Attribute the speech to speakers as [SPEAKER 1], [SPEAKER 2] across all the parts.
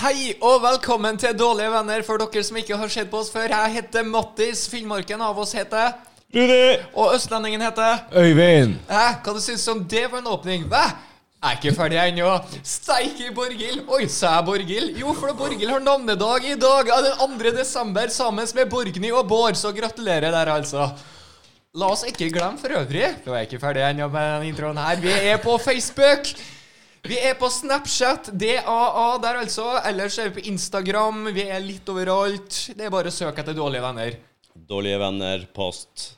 [SPEAKER 1] Hei og velkommen til Dårlige venner, for dere som ikke har sett på oss før. Jeg heter Mattis. Finnmarken av oss heter
[SPEAKER 2] Rudi!
[SPEAKER 1] Og østlendingen heter
[SPEAKER 2] Øyvind!
[SPEAKER 1] Hæ, hva du syns om det var en åpning? Hva? Jeg er ikke ferdig ennå. Steike Borghild. Oi, sa jeg Borghild? Jo, for Borghild har navnedag i dag, ja, den 2. desember, sammen med Borgny og Bård, så gratulerer der, altså. La oss ikke glemme for øvrig, nå er jeg ikke ferdig ennå med den introen her, vi er på Facebook! Vi er på Snapchat, DAA der altså. Ellers er vi på Instagram, vi er litt overalt. Det er bare å søke etter Dårlige venner.
[SPEAKER 3] Dårlige venner, post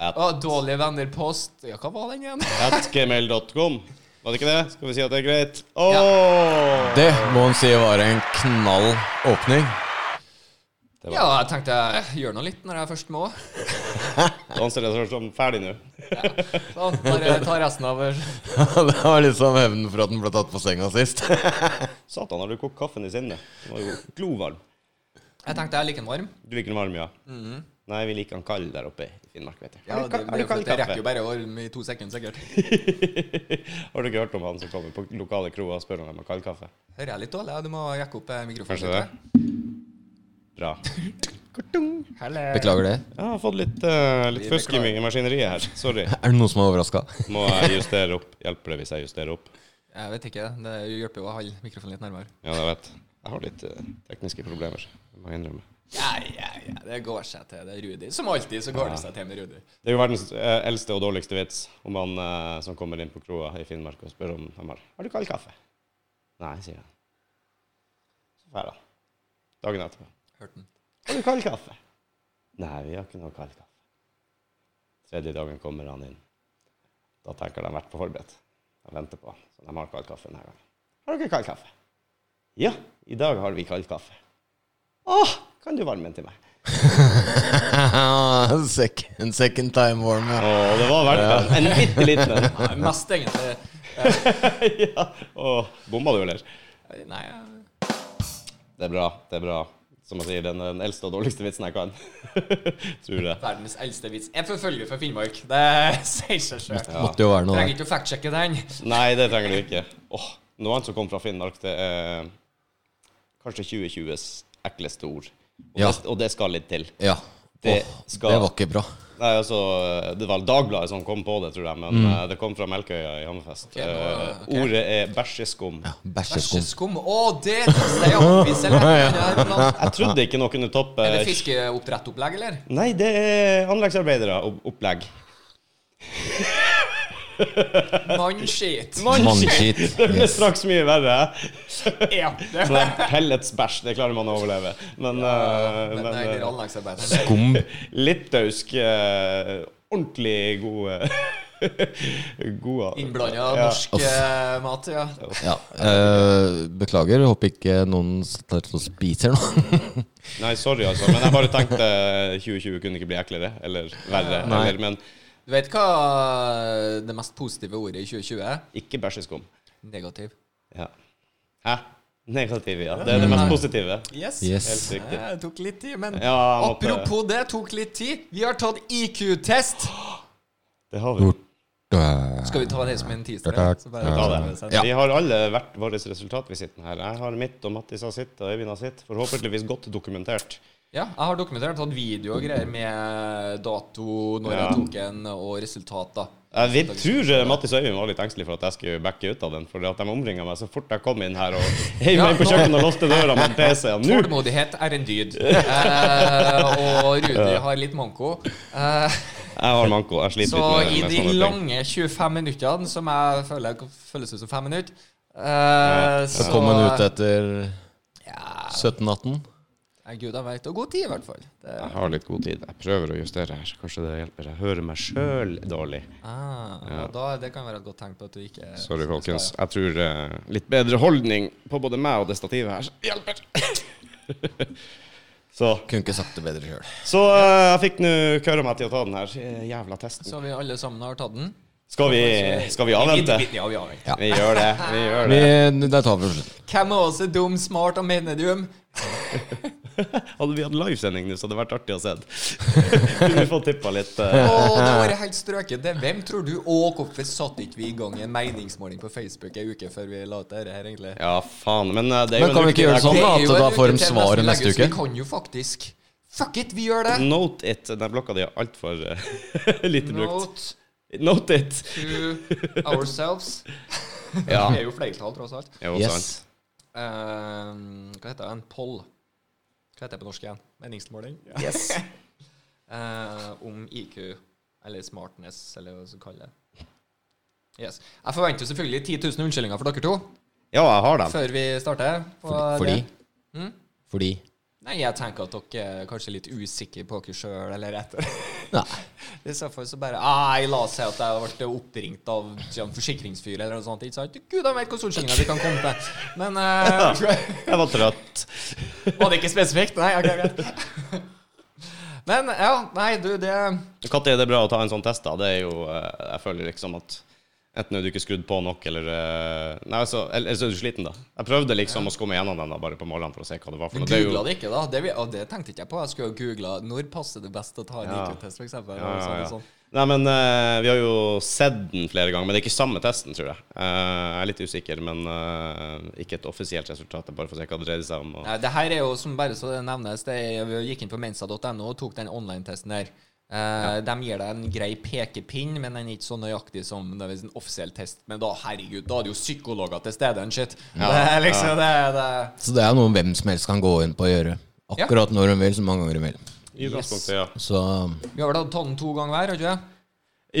[SPEAKER 3] at,
[SPEAKER 1] Å, Dårlige venner post Ja, hva var den igjen?
[SPEAKER 3] at gmail.com. Var det ikke det? Skal vi si at det er greit? Åh!
[SPEAKER 2] Det må en si var en knall åpning.
[SPEAKER 1] Ja, jeg tenkte jeg gjør noe litt når jeg først må.
[SPEAKER 3] Da anser jeg det som ferdig nå.
[SPEAKER 1] Da Sånn, bare ta resten av
[SPEAKER 2] det var litt sånn hevnen for at den ble tatt på senga sist.
[SPEAKER 3] Satan, har du kokt kaffen i sinne? Den var jo glovarm.
[SPEAKER 1] Jeg tenkte jeg liker den varm.
[SPEAKER 3] Du liker den varm, ja? Nei, vi liker den kald der oppe i Finnmark, vet du. Har du ka- har du kald
[SPEAKER 1] Mm. Det rekker jo
[SPEAKER 3] kaffe?
[SPEAKER 1] bare å varme i to sekunder, sikkert.
[SPEAKER 3] Har du ikke hørt om han som kommer på lokale kroer og spør om de har kald kaffe?
[SPEAKER 1] Hører jeg litt dårlig? Ja, Du må jekke opp eh, mikrofonen.
[SPEAKER 3] Kanskje det? Bra.
[SPEAKER 2] Beklager det.
[SPEAKER 3] Jeg har fått litt, eh, litt
[SPEAKER 1] Vi
[SPEAKER 3] fusk i mi- i maskineriet her. Sorry.
[SPEAKER 2] Er det noen som er overraska?
[SPEAKER 3] Må jeg justere opp? Hjelper det hvis jeg justerer opp?
[SPEAKER 1] Jeg vet ikke. Det hjelper jo å holde mikrofonen litt nærmere.
[SPEAKER 3] Ja, jeg vet. Jeg har litt eh, tekniske problemer, det må jeg innrømme.
[SPEAKER 1] Ja, ja, ja. Det går seg til. Det er Rudi. Som alltid så går det seg til med Rudi.
[SPEAKER 3] Det er jo verdens eh, eldste og dårligste vits om han eh, som kommer inn på kroa i Finnmark og spør om han har Har du kald kaffe. Nei, sier han. Så drar han. Dagen etterpå.
[SPEAKER 1] Hørte den.
[SPEAKER 3] Har du kald kaffe? Nei, vi har ikke noe kald kaffe. Tredje dagen kommer han inn. Da tenker de vært på forberedt. De venter på. Så de har kald kaffe denne gangen. Har dere kald kaffe? Ja, i dag har vi kald kaffe. Åh, kan du varme den til meg?
[SPEAKER 2] second, second time warm. Ja.
[SPEAKER 3] Åh, det var verdt det. En bitte liten en.
[SPEAKER 1] Nei, mest egentlig
[SPEAKER 3] ja. Åh, bomma du, eller?
[SPEAKER 1] Nei, jeg-
[SPEAKER 3] Det er bra. det er bra. Som jeg sier, den, den eldste og dårligste vitsen jeg kan. Tror jeg.
[SPEAKER 1] verdens eldste vits. Jeg forfølger fra Finnmark. Det sier seg sjøl.
[SPEAKER 2] Måtte jo være noe
[SPEAKER 1] Trenger
[SPEAKER 2] der.
[SPEAKER 1] ikke å factsjekke den.
[SPEAKER 3] Nei, det trenger du ikke. Åh, noe annet som kom fra Finnmark, det er kanskje 2020s ekleste ord. Og,
[SPEAKER 2] Ja.
[SPEAKER 3] det, og det skal litt til.
[SPEAKER 2] Ja. Det,
[SPEAKER 3] Det skal-
[SPEAKER 2] det var ikke bra.
[SPEAKER 3] Nei, altså, Det var Dagbladet som kom på det, tror jeg, men eh, det kom fra Melkøya i Hammerfest.
[SPEAKER 1] nå,
[SPEAKER 3] Eh,
[SPEAKER 1] ok.
[SPEAKER 3] Ordet er bæsjeskum.
[SPEAKER 2] Bæsjeskum.
[SPEAKER 1] Bæsjeskum. Å, det tester jeg oppvis, eller? Er det noe-
[SPEAKER 3] Jeg trodde ikke noe kunne toppe
[SPEAKER 1] Er det fiskeoppdrettopplegg, eller?
[SPEAKER 3] Nei, det er anleggsarbeidere og opplegg.
[SPEAKER 1] Mannskit.
[SPEAKER 2] Mannskitt.
[SPEAKER 3] Det ble straks mye verre.
[SPEAKER 1] Ja, det
[SPEAKER 3] Sånn der Pelletsbæsj, det klarer man å overleve. Men, eh,
[SPEAKER 1] Men
[SPEAKER 3] men
[SPEAKER 1] nei, det er
[SPEAKER 3] eh,
[SPEAKER 1] anleggsarbeideren.
[SPEAKER 2] Skum.
[SPEAKER 3] litauisk eh, Ordentlig god God
[SPEAKER 1] Innblanda
[SPEAKER 3] Ja.
[SPEAKER 1] norsk eh, mat, ja.
[SPEAKER 2] Ja. eh, beklager, håper ikke noen tar og spiser noe.
[SPEAKER 3] Nei, sorry, altså. Men jeg bare tenkte 2020 kunne ikke bli eklere eller verre.
[SPEAKER 2] Nei.
[SPEAKER 3] Eller, men
[SPEAKER 1] Du vet hva det mest positive ordet i 2020 er?
[SPEAKER 3] ikke bæsjeskum.
[SPEAKER 1] Negativ.
[SPEAKER 3] Ja. Hæ? Negativ, ja. Det er det mest positive.
[SPEAKER 1] Yes.
[SPEAKER 2] Yes.
[SPEAKER 3] Helt riktig.
[SPEAKER 1] Ja, Det tok litt tid, men
[SPEAKER 3] Ja, jeg måtte-
[SPEAKER 1] apropos det, tok litt tid. Vi har tatt IQ-test.
[SPEAKER 3] Det har vi.
[SPEAKER 2] Eh,
[SPEAKER 1] Skal vi ta det som en teaser?
[SPEAKER 2] Ja, takk.
[SPEAKER 1] Så bare-
[SPEAKER 3] Ta
[SPEAKER 1] så
[SPEAKER 3] det.
[SPEAKER 1] bare-
[SPEAKER 3] Vi har alle hvert vår resultatvisitten her. Jeg har mitt, og Mattis har sitt, og Øyvind har sitt. Forhåpentligvis godt dokumentert.
[SPEAKER 1] Ja, jeg har dokumentert tatt video og greier med dato, når
[SPEAKER 3] Ja.
[SPEAKER 1] jeg tok en, og resultat, da.
[SPEAKER 3] Jeg vil, tror eh, Mattis og Øyvind var litt engstelig for at jeg skulle backe ut av den. For at de omringa meg så fort jeg kom inn her og heiv
[SPEAKER 1] Ja,
[SPEAKER 3] meg inn på
[SPEAKER 1] nå-
[SPEAKER 3] kjøkkenet og låste døra med PC-en. Nå!
[SPEAKER 1] Tålmodighet er en dyd. Eh, og Rudi har litt manko. Eh,
[SPEAKER 3] Jeg har manko. Jeg sliter
[SPEAKER 1] Så i
[SPEAKER 3] litt med, med
[SPEAKER 1] de
[SPEAKER 3] sånne ting.
[SPEAKER 1] lange 25 minuttene, som jeg føler føles ut som fem minutter eh,
[SPEAKER 2] Så
[SPEAKER 1] så
[SPEAKER 2] kom hun ut etter
[SPEAKER 1] Ja,
[SPEAKER 2] 17-18.
[SPEAKER 1] nei, gud, jeg vet. Og god tid, i hvert fall. Det,
[SPEAKER 3] Jeg har litt god tid. Jeg prøver å justere her. Kanskje det hjelper. Jeg hører meg sjøl dårlig.
[SPEAKER 1] ah, og da, det kan være et godt tegn på at du ikke
[SPEAKER 3] Sorry, folkens. Jeg tror eh, litt bedre holdning på både meg og det stativet her hjelper. så
[SPEAKER 2] Kunne ikke sagt det bedre sjøl.
[SPEAKER 3] Så eh, jeg fikk nå køra meg til å ta den her eh, jævla testen.
[SPEAKER 1] Så vi alle sammen har tatt den?
[SPEAKER 3] Skal vi, skal vi avvente?
[SPEAKER 1] Ja, vi avventer.
[SPEAKER 3] Vi gjør det. Vi gjør det.
[SPEAKER 2] Det tar vi for slutt.
[SPEAKER 1] Hvem av oss er dum, smart og mener dum?
[SPEAKER 3] Hadde vi hatt livesending nå, så hadde det vært artig å se. Kunne vi fått tippa litt. eh,
[SPEAKER 1] Åh, det var helt strøket. Det. Hvem tror du Å, hvorfor satte ikke vi i gang en meningsmåling på Facebook ei uke før vi la ut det her, egentlig?
[SPEAKER 3] Ja, faen. Men eh, det er jo
[SPEAKER 2] Men kan
[SPEAKER 3] en
[SPEAKER 2] vi
[SPEAKER 3] uke
[SPEAKER 2] ikke gjøre
[SPEAKER 3] til.
[SPEAKER 2] sånn,
[SPEAKER 1] Det
[SPEAKER 2] da?
[SPEAKER 1] er jo
[SPEAKER 2] At da
[SPEAKER 1] en
[SPEAKER 2] får de
[SPEAKER 1] uke til
[SPEAKER 2] svaret
[SPEAKER 1] nesten
[SPEAKER 2] neste
[SPEAKER 1] legges.
[SPEAKER 2] uke? Mm.
[SPEAKER 1] Vi kan jo faktisk Fuck it, vi gjør det!
[SPEAKER 3] Note it. Den blokka di er altfor lite brukt.
[SPEAKER 1] Note
[SPEAKER 3] Note it.
[SPEAKER 1] to ourselves.
[SPEAKER 3] Ja.
[SPEAKER 1] Det er jo flertall, tross alt.
[SPEAKER 3] Jo,
[SPEAKER 2] Yes.
[SPEAKER 3] sant.
[SPEAKER 1] Ehm, hva heter den? Poll. Hva heter det på norsk igjen? Meningsmåling?
[SPEAKER 3] Yes.
[SPEAKER 1] Eh, om IQ, eller smartness, eller hva du kaller det. Yes. Jeg forventer selvfølgelig 10 000 unnskyldninger for dere to
[SPEAKER 3] Ja, jeg har den.
[SPEAKER 1] før vi starter. på
[SPEAKER 2] Fordi- Fordi?
[SPEAKER 1] det.
[SPEAKER 2] Fordi?
[SPEAKER 1] Nei, jeg tenker at dere er kanskje litt usikre på dere sjøl, eller etter.
[SPEAKER 2] Nei.
[SPEAKER 1] I så fall så bare Nei, la oss si at jeg ble oppringt av en forsikringsfyr eller noe sånt. Ikke sant? Gud, jeg vet hvilke unnskyldninger vi kan komme til. Men eh,
[SPEAKER 3] Jeg var trøtt.
[SPEAKER 1] Var det ikke spesifikt? Nei, ok, greit. Men ja, nei, du, det
[SPEAKER 3] Når er det bra å ta en sånn test, da? Det er jo eh, Jeg føler liksom at Enten er du ikke skrudd på nok, eller eh, Nei, altså, eller, eller så er du sliten, da. Jeg prøvde liksom å skumme gjennom den da, bare på morgenen for å se hva det var for
[SPEAKER 1] Du
[SPEAKER 3] noe. Det er jo-
[SPEAKER 1] googla det ikke, da? Det, vi, og det tenkte ikke jeg på. Jeg skulle ha googla når passer det best å ta en
[SPEAKER 3] Ja.
[SPEAKER 1] IQ-test, Sånn, f.eks.
[SPEAKER 3] Ja, ja, ja.
[SPEAKER 2] sånn.
[SPEAKER 3] Nei, men eh, vi har jo sett den flere ganger, men det er ikke samme testen, tror jeg. Eh, jeg er litt usikker, men eh, ikke et offisielt resultat. Det er bare for å se hva det dreide seg om. Og,
[SPEAKER 1] Nei, det her er jo, som bare så det nevnes, det er, vi gikk inn på mensa.no og tok den online-testen der. Eh, De gir deg en grei pekepinn, men den er ikke så nøyaktig som det er en offisiell test. Men da, herregud, da er det jo psykologer til stede and shit. det er liksom det, det.
[SPEAKER 2] Så det er noe hvem som helst kan gå inn på å gjøre. Akkurat når hun vil, så mange ganger hun vil.
[SPEAKER 3] I utgangspunktet, ja.
[SPEAKER 2] Så
[SPEAKER 1] Vi har vel hatt tatt den to ganger hver, har vi ikke det?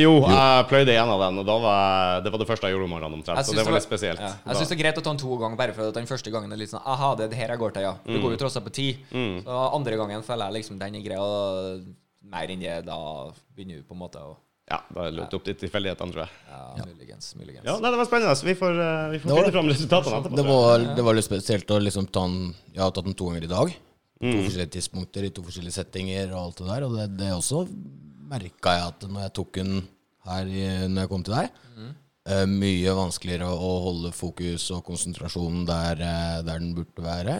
[SPEAKER 3] Jo, jeg pløyde en av den, og da var jeg, det var det første jeg gjorde om morgenen omtrent.
[SPEAKER 1] Jeg
[SPEAKER 3] Så
[SPEAKER 1] syns
[SPEAKER 3] det var litt spesielt.
[SPEAKER 1] Ja.
[SPEAKER 3] Da-
[SPEAKER 1] Jeg syns det er greit å ta den to ganger, bare for at den første gangen er litt sånn Aha, det er det her jeg går til, ja.
[SPEAKER 3] Mm.
[SPEAKER 1] Det går jo tross alt på ti. Så andre gangen føler jeg liksom den er grei, og mer enn det, da begynner vi på en måte å
[SPEAKER 3] ja, da er det lurt opp til tilfeldighetene, tror jeg.
[SPEAKER 1] ja, muligens, muligens.
[SPEAKER 3] Ja, nei, det var spennende. så Vi får, eh, vi får
[SPEAKER 2] var
[SPEAKER 3] finne fram resultatene etterpå.
[SPEAKER 2] det
[SPEAKER 3] tror jeg.
[SPEAKER 2] var, det var litt spesielt å liksom ta den Jeg har tatt den to ganger i dag. På
[SPEAKER 3] Mm.
[SPEAKER 2] to forskjellige tidspunkter, i to forskjellige settinger og alt det der. Og det, det også merka jeg at når jeg tok den her i- når jeg kom til deg eh, Mye vanskeligere å holde fokus og konsentrasjonen der, eh, der den burde være.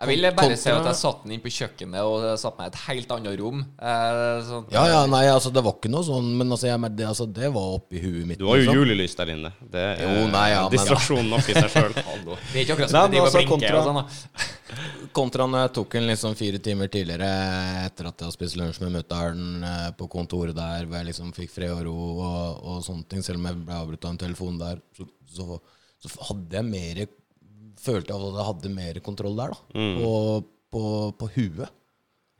[SPEAKER 1] Jeg vil bare
[SPEAKER 2] Kontra-
[SPEAKER 1] si at jeg satte den inn på kjøkkenet, og jeg satte meg i et helt annet rom. Eh, sånn.
[SPEAKER 2] Ja, ja, nei, altså det var ikke noe sånn, men altså, jeg, mer- det, altså, det var oppi huet mitt.
[SPEAKER 3] Du har jo
[SPEAKER 2] liksom.
[SPEAKER 3] julelys der inne. Det er
[SPEAKER 2] Jo, nei, ja, men-
[SPEAKER 3] distraksjon nok i seg sjøl.
[SPEAKER 1] Det er ikke akkurat
[SPEAKER 2] Nei,
[SPEAKER 1] som å
[SPEAKER 2] men
[SPEAKER 1] drive og
[SPEAKER 2] altså,
[SPEAKER 1] blinke
[SPEAKER 2] kontra-
[SPEAKER 1] og sånn, da.
[SPEAKER 2] Kontra når jeg tok den liksom fire timer tidligere etter at jeg hadde spist lunsj med mutter'n eh, på kontoret der, hvor jeg liksom fikk fred og ro og, og sånne ting, selv om jeg ble avbrutt av en telefon der, så, så, så hadde jeg mer Følte jeg at jeg hadde mer kontroll der, da. På, på, på huet.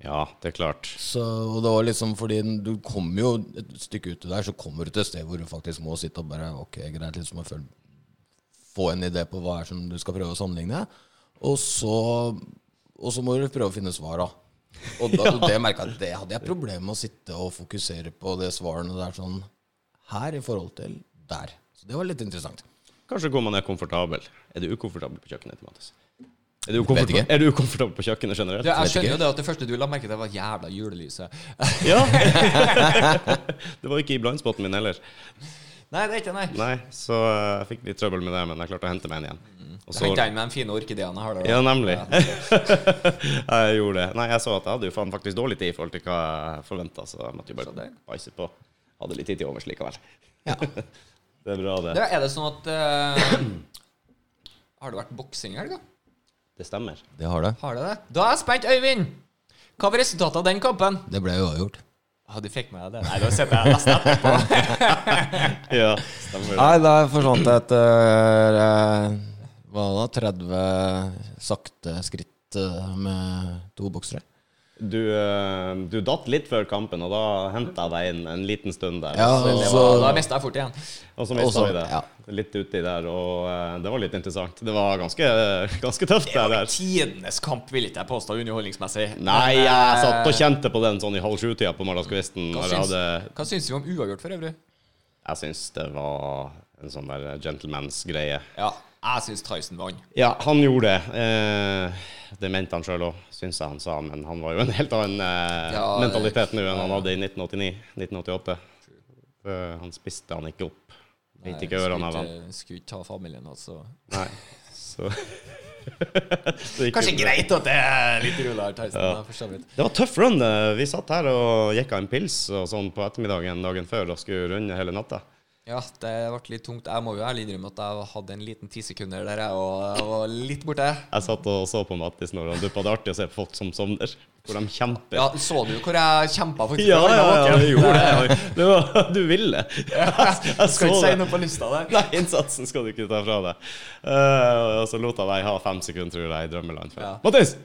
[SPEAKER 3] Ja, det er klart.
[SPEAKER 2] Så, og det var liksom fordi den- du kommer jo et stykke uti der, så kommer du til et sted hvor du faktisk må sitte og bare Ok, greit, liksom å føl- få en idé på hva er som du skal prøve å sammenligne. Og så, og så må du prøve å finne svar, da. Og da, det merket jeg at det hadde jeg problemer med å sitte og fokusere på det svarene der sånn her i forhold til der. Så det var litt interessant.
[SPEAKER 3] Kanskje hvor man er komfortabel. Er du ukomfortabel på kjøkkenet? Mattis? Er du,
[SPEAKER 2] Vet
[SPEAKER 3] ukomfortabel,
[SPEAKER 2] ikke.
[SPEAKER 3] er du ukomfortabel på kjøkkenet
[SPEAKER 1] Du,
[SPEAKER 3] generelt?
[SPEAKER 1] jeg skjønner jo det at det første du la merke til, var jævla julelyset.
[SPEAKER 3] Ja! det var ikke i blindspoten min heller.
[SPEAKER 1] Nei, det er ikke nei.
[SPEAKER 3] Nei, så eh, jeg fikk litt trøbbel med det, men jeg klarte å hente meg en igjen. Og
[SPEAKER 1] Du
[SPEAKER 3] så,
[SPEAKER 1] henter den med de fine orkideene her, da.
[SPEAKER 3] ja, nemlig. jeg gjorde det. Nei, jeg så at jeg hadde jo faen faktisk dårlig tid i forhold til hva jeg forventa, så jeg måtte
[SPEAKER 1] Så
[SPEAKER 3] jo bare
[SPEAKER 1] det.
[SPEAKER 3] bæsje på. Hadde litt tid til overs likevel. det er bra, det.
[SPEAKER 1] Du, er det sånn at eh, Har det vært boksing i helga?
[SPEAKER 3] Det stemmer.
[SPEAKER 2] Det har det.
[SPEAKER 1] Har det det? Da er jeg spent, Øyvind! Hva var resultatet av den kampen?
[SPEAKER 2] Det ble jo avgjort.
[SPEAKER 1] Ja, du fikk med deg det. Nei, da setter jeg nesten etterpå.
[SPEAKER 3] Ja, stemmer.
[SPEAKER 2] Nei, der forsvant jeg etter eh, hva da, 30 sakte skritt eh, med to boksere.
[SPEAKER 3] Du, eh, du datt litt før kampen, og da henta jeg deg inn en liten stund der.
[SPEAKER 2] Ja,
[SPEAKER 3] og
[SPEAKER 2] og
[SPEAKER 3] så-
[SPEAKER 1] Så
[SPEAKER 2] så-
[SPEAKER 1] da mista jeg fort igjen.
[SPEAKER 3] Og så
[SPEAKER 2] Og så-
[SPEAKER 3] mista vi det.
[SPEAKER 2] ja.
[SPEAKER 3] Litt uti der, og eh, det var litt interessant. Det var ganske, ganske tøft, det der.
[SPEAKER 1] Tidenes kamp, vil ikke jeg påstå, underholdningsmessig.
[SPEAKER 3] Nei,
[SPEAKER 1] Men,
[SPEAKER 3] jeg
[SPEAKER 1] eh,
[SPEAKER 3] satt og kjente på den sånn i halv sju-tida på Mardagskvisten.
[SPEAKER 1] Hva
[SPEAKER 3] når Jeg,
[SPEAKER 1] syns,
[SPEAKER 3] hadde-
[SPEAKER 1] hva syns vi om uavgjort, for øvrig?
[SPEAKER 3] jeg syns det var en sånn der gentlemans-greie.
[SPEAKER 1] Ja, jeg syns Tyson vant.
[SPEAKER 3] Ja, han gjorde det. Eh, det mente han sjøl òg, syns jeg han sa. Men han var jo en helt annen eh,
[SPEAKER 1] Ja,
[SPEAKER 3] mentalitet nå enn han hadde i 1989-1988. eh, Han spiste han ikke
[SPEAKER 1] Eh,
[SPEAKER 3] opp. Beit ikke ørene av han.
[SPEAKER 1] Skulle ikke ta familien, altså.
[SPEAKER 3] Nei. Så Så det gikk
[SPEAKER 1] Kanskje
[SPEAKER 3] jo bra.
[SPEAKER 1] greit at det er litt rulla her, Theisen. da, for så vidt.
[SPEAKER 3] Det var tøff run. eh, Vi satt her og jekka en pils og sånn på ettermiddagen dagen før og skulle runde hele natta.
[SPEAKER 1] Ja, det ble litt tungt. Jeg må jo ærlig innrømme at jeg hadde en liten ti sekunder der jeg og, og litt borte.
[SPEAKER 3] Jeg satt og så på Mattis når han duppa. Det er artig å se folk som sovner, hvor de kjemper.
[SPEAKER 1] Ja, Så du hvor jeg kjempa for
[SPEAKER 3] Ja, ja, ja,
[SPEAKER 1] Jeg
[SPEAKER 3] du gjorde det. Det var, du ville. Jeg, jeg
[SPEAKER 1] Skal
[SPEAKER 3] så
[SPEAKER 1] ikke si
[SPEAKER 3] det.
[SPEAKER 1] noe på lufta der.
[SPEAKER 3] Nei, innsatsen skal du ikke ta fra deg. Eh, og så lot jeg deg ha fem sekunder, tror jeg, i drømmeland. før.
[SPEAKER 1] Ja.
[SPEAKER 3] Mattis!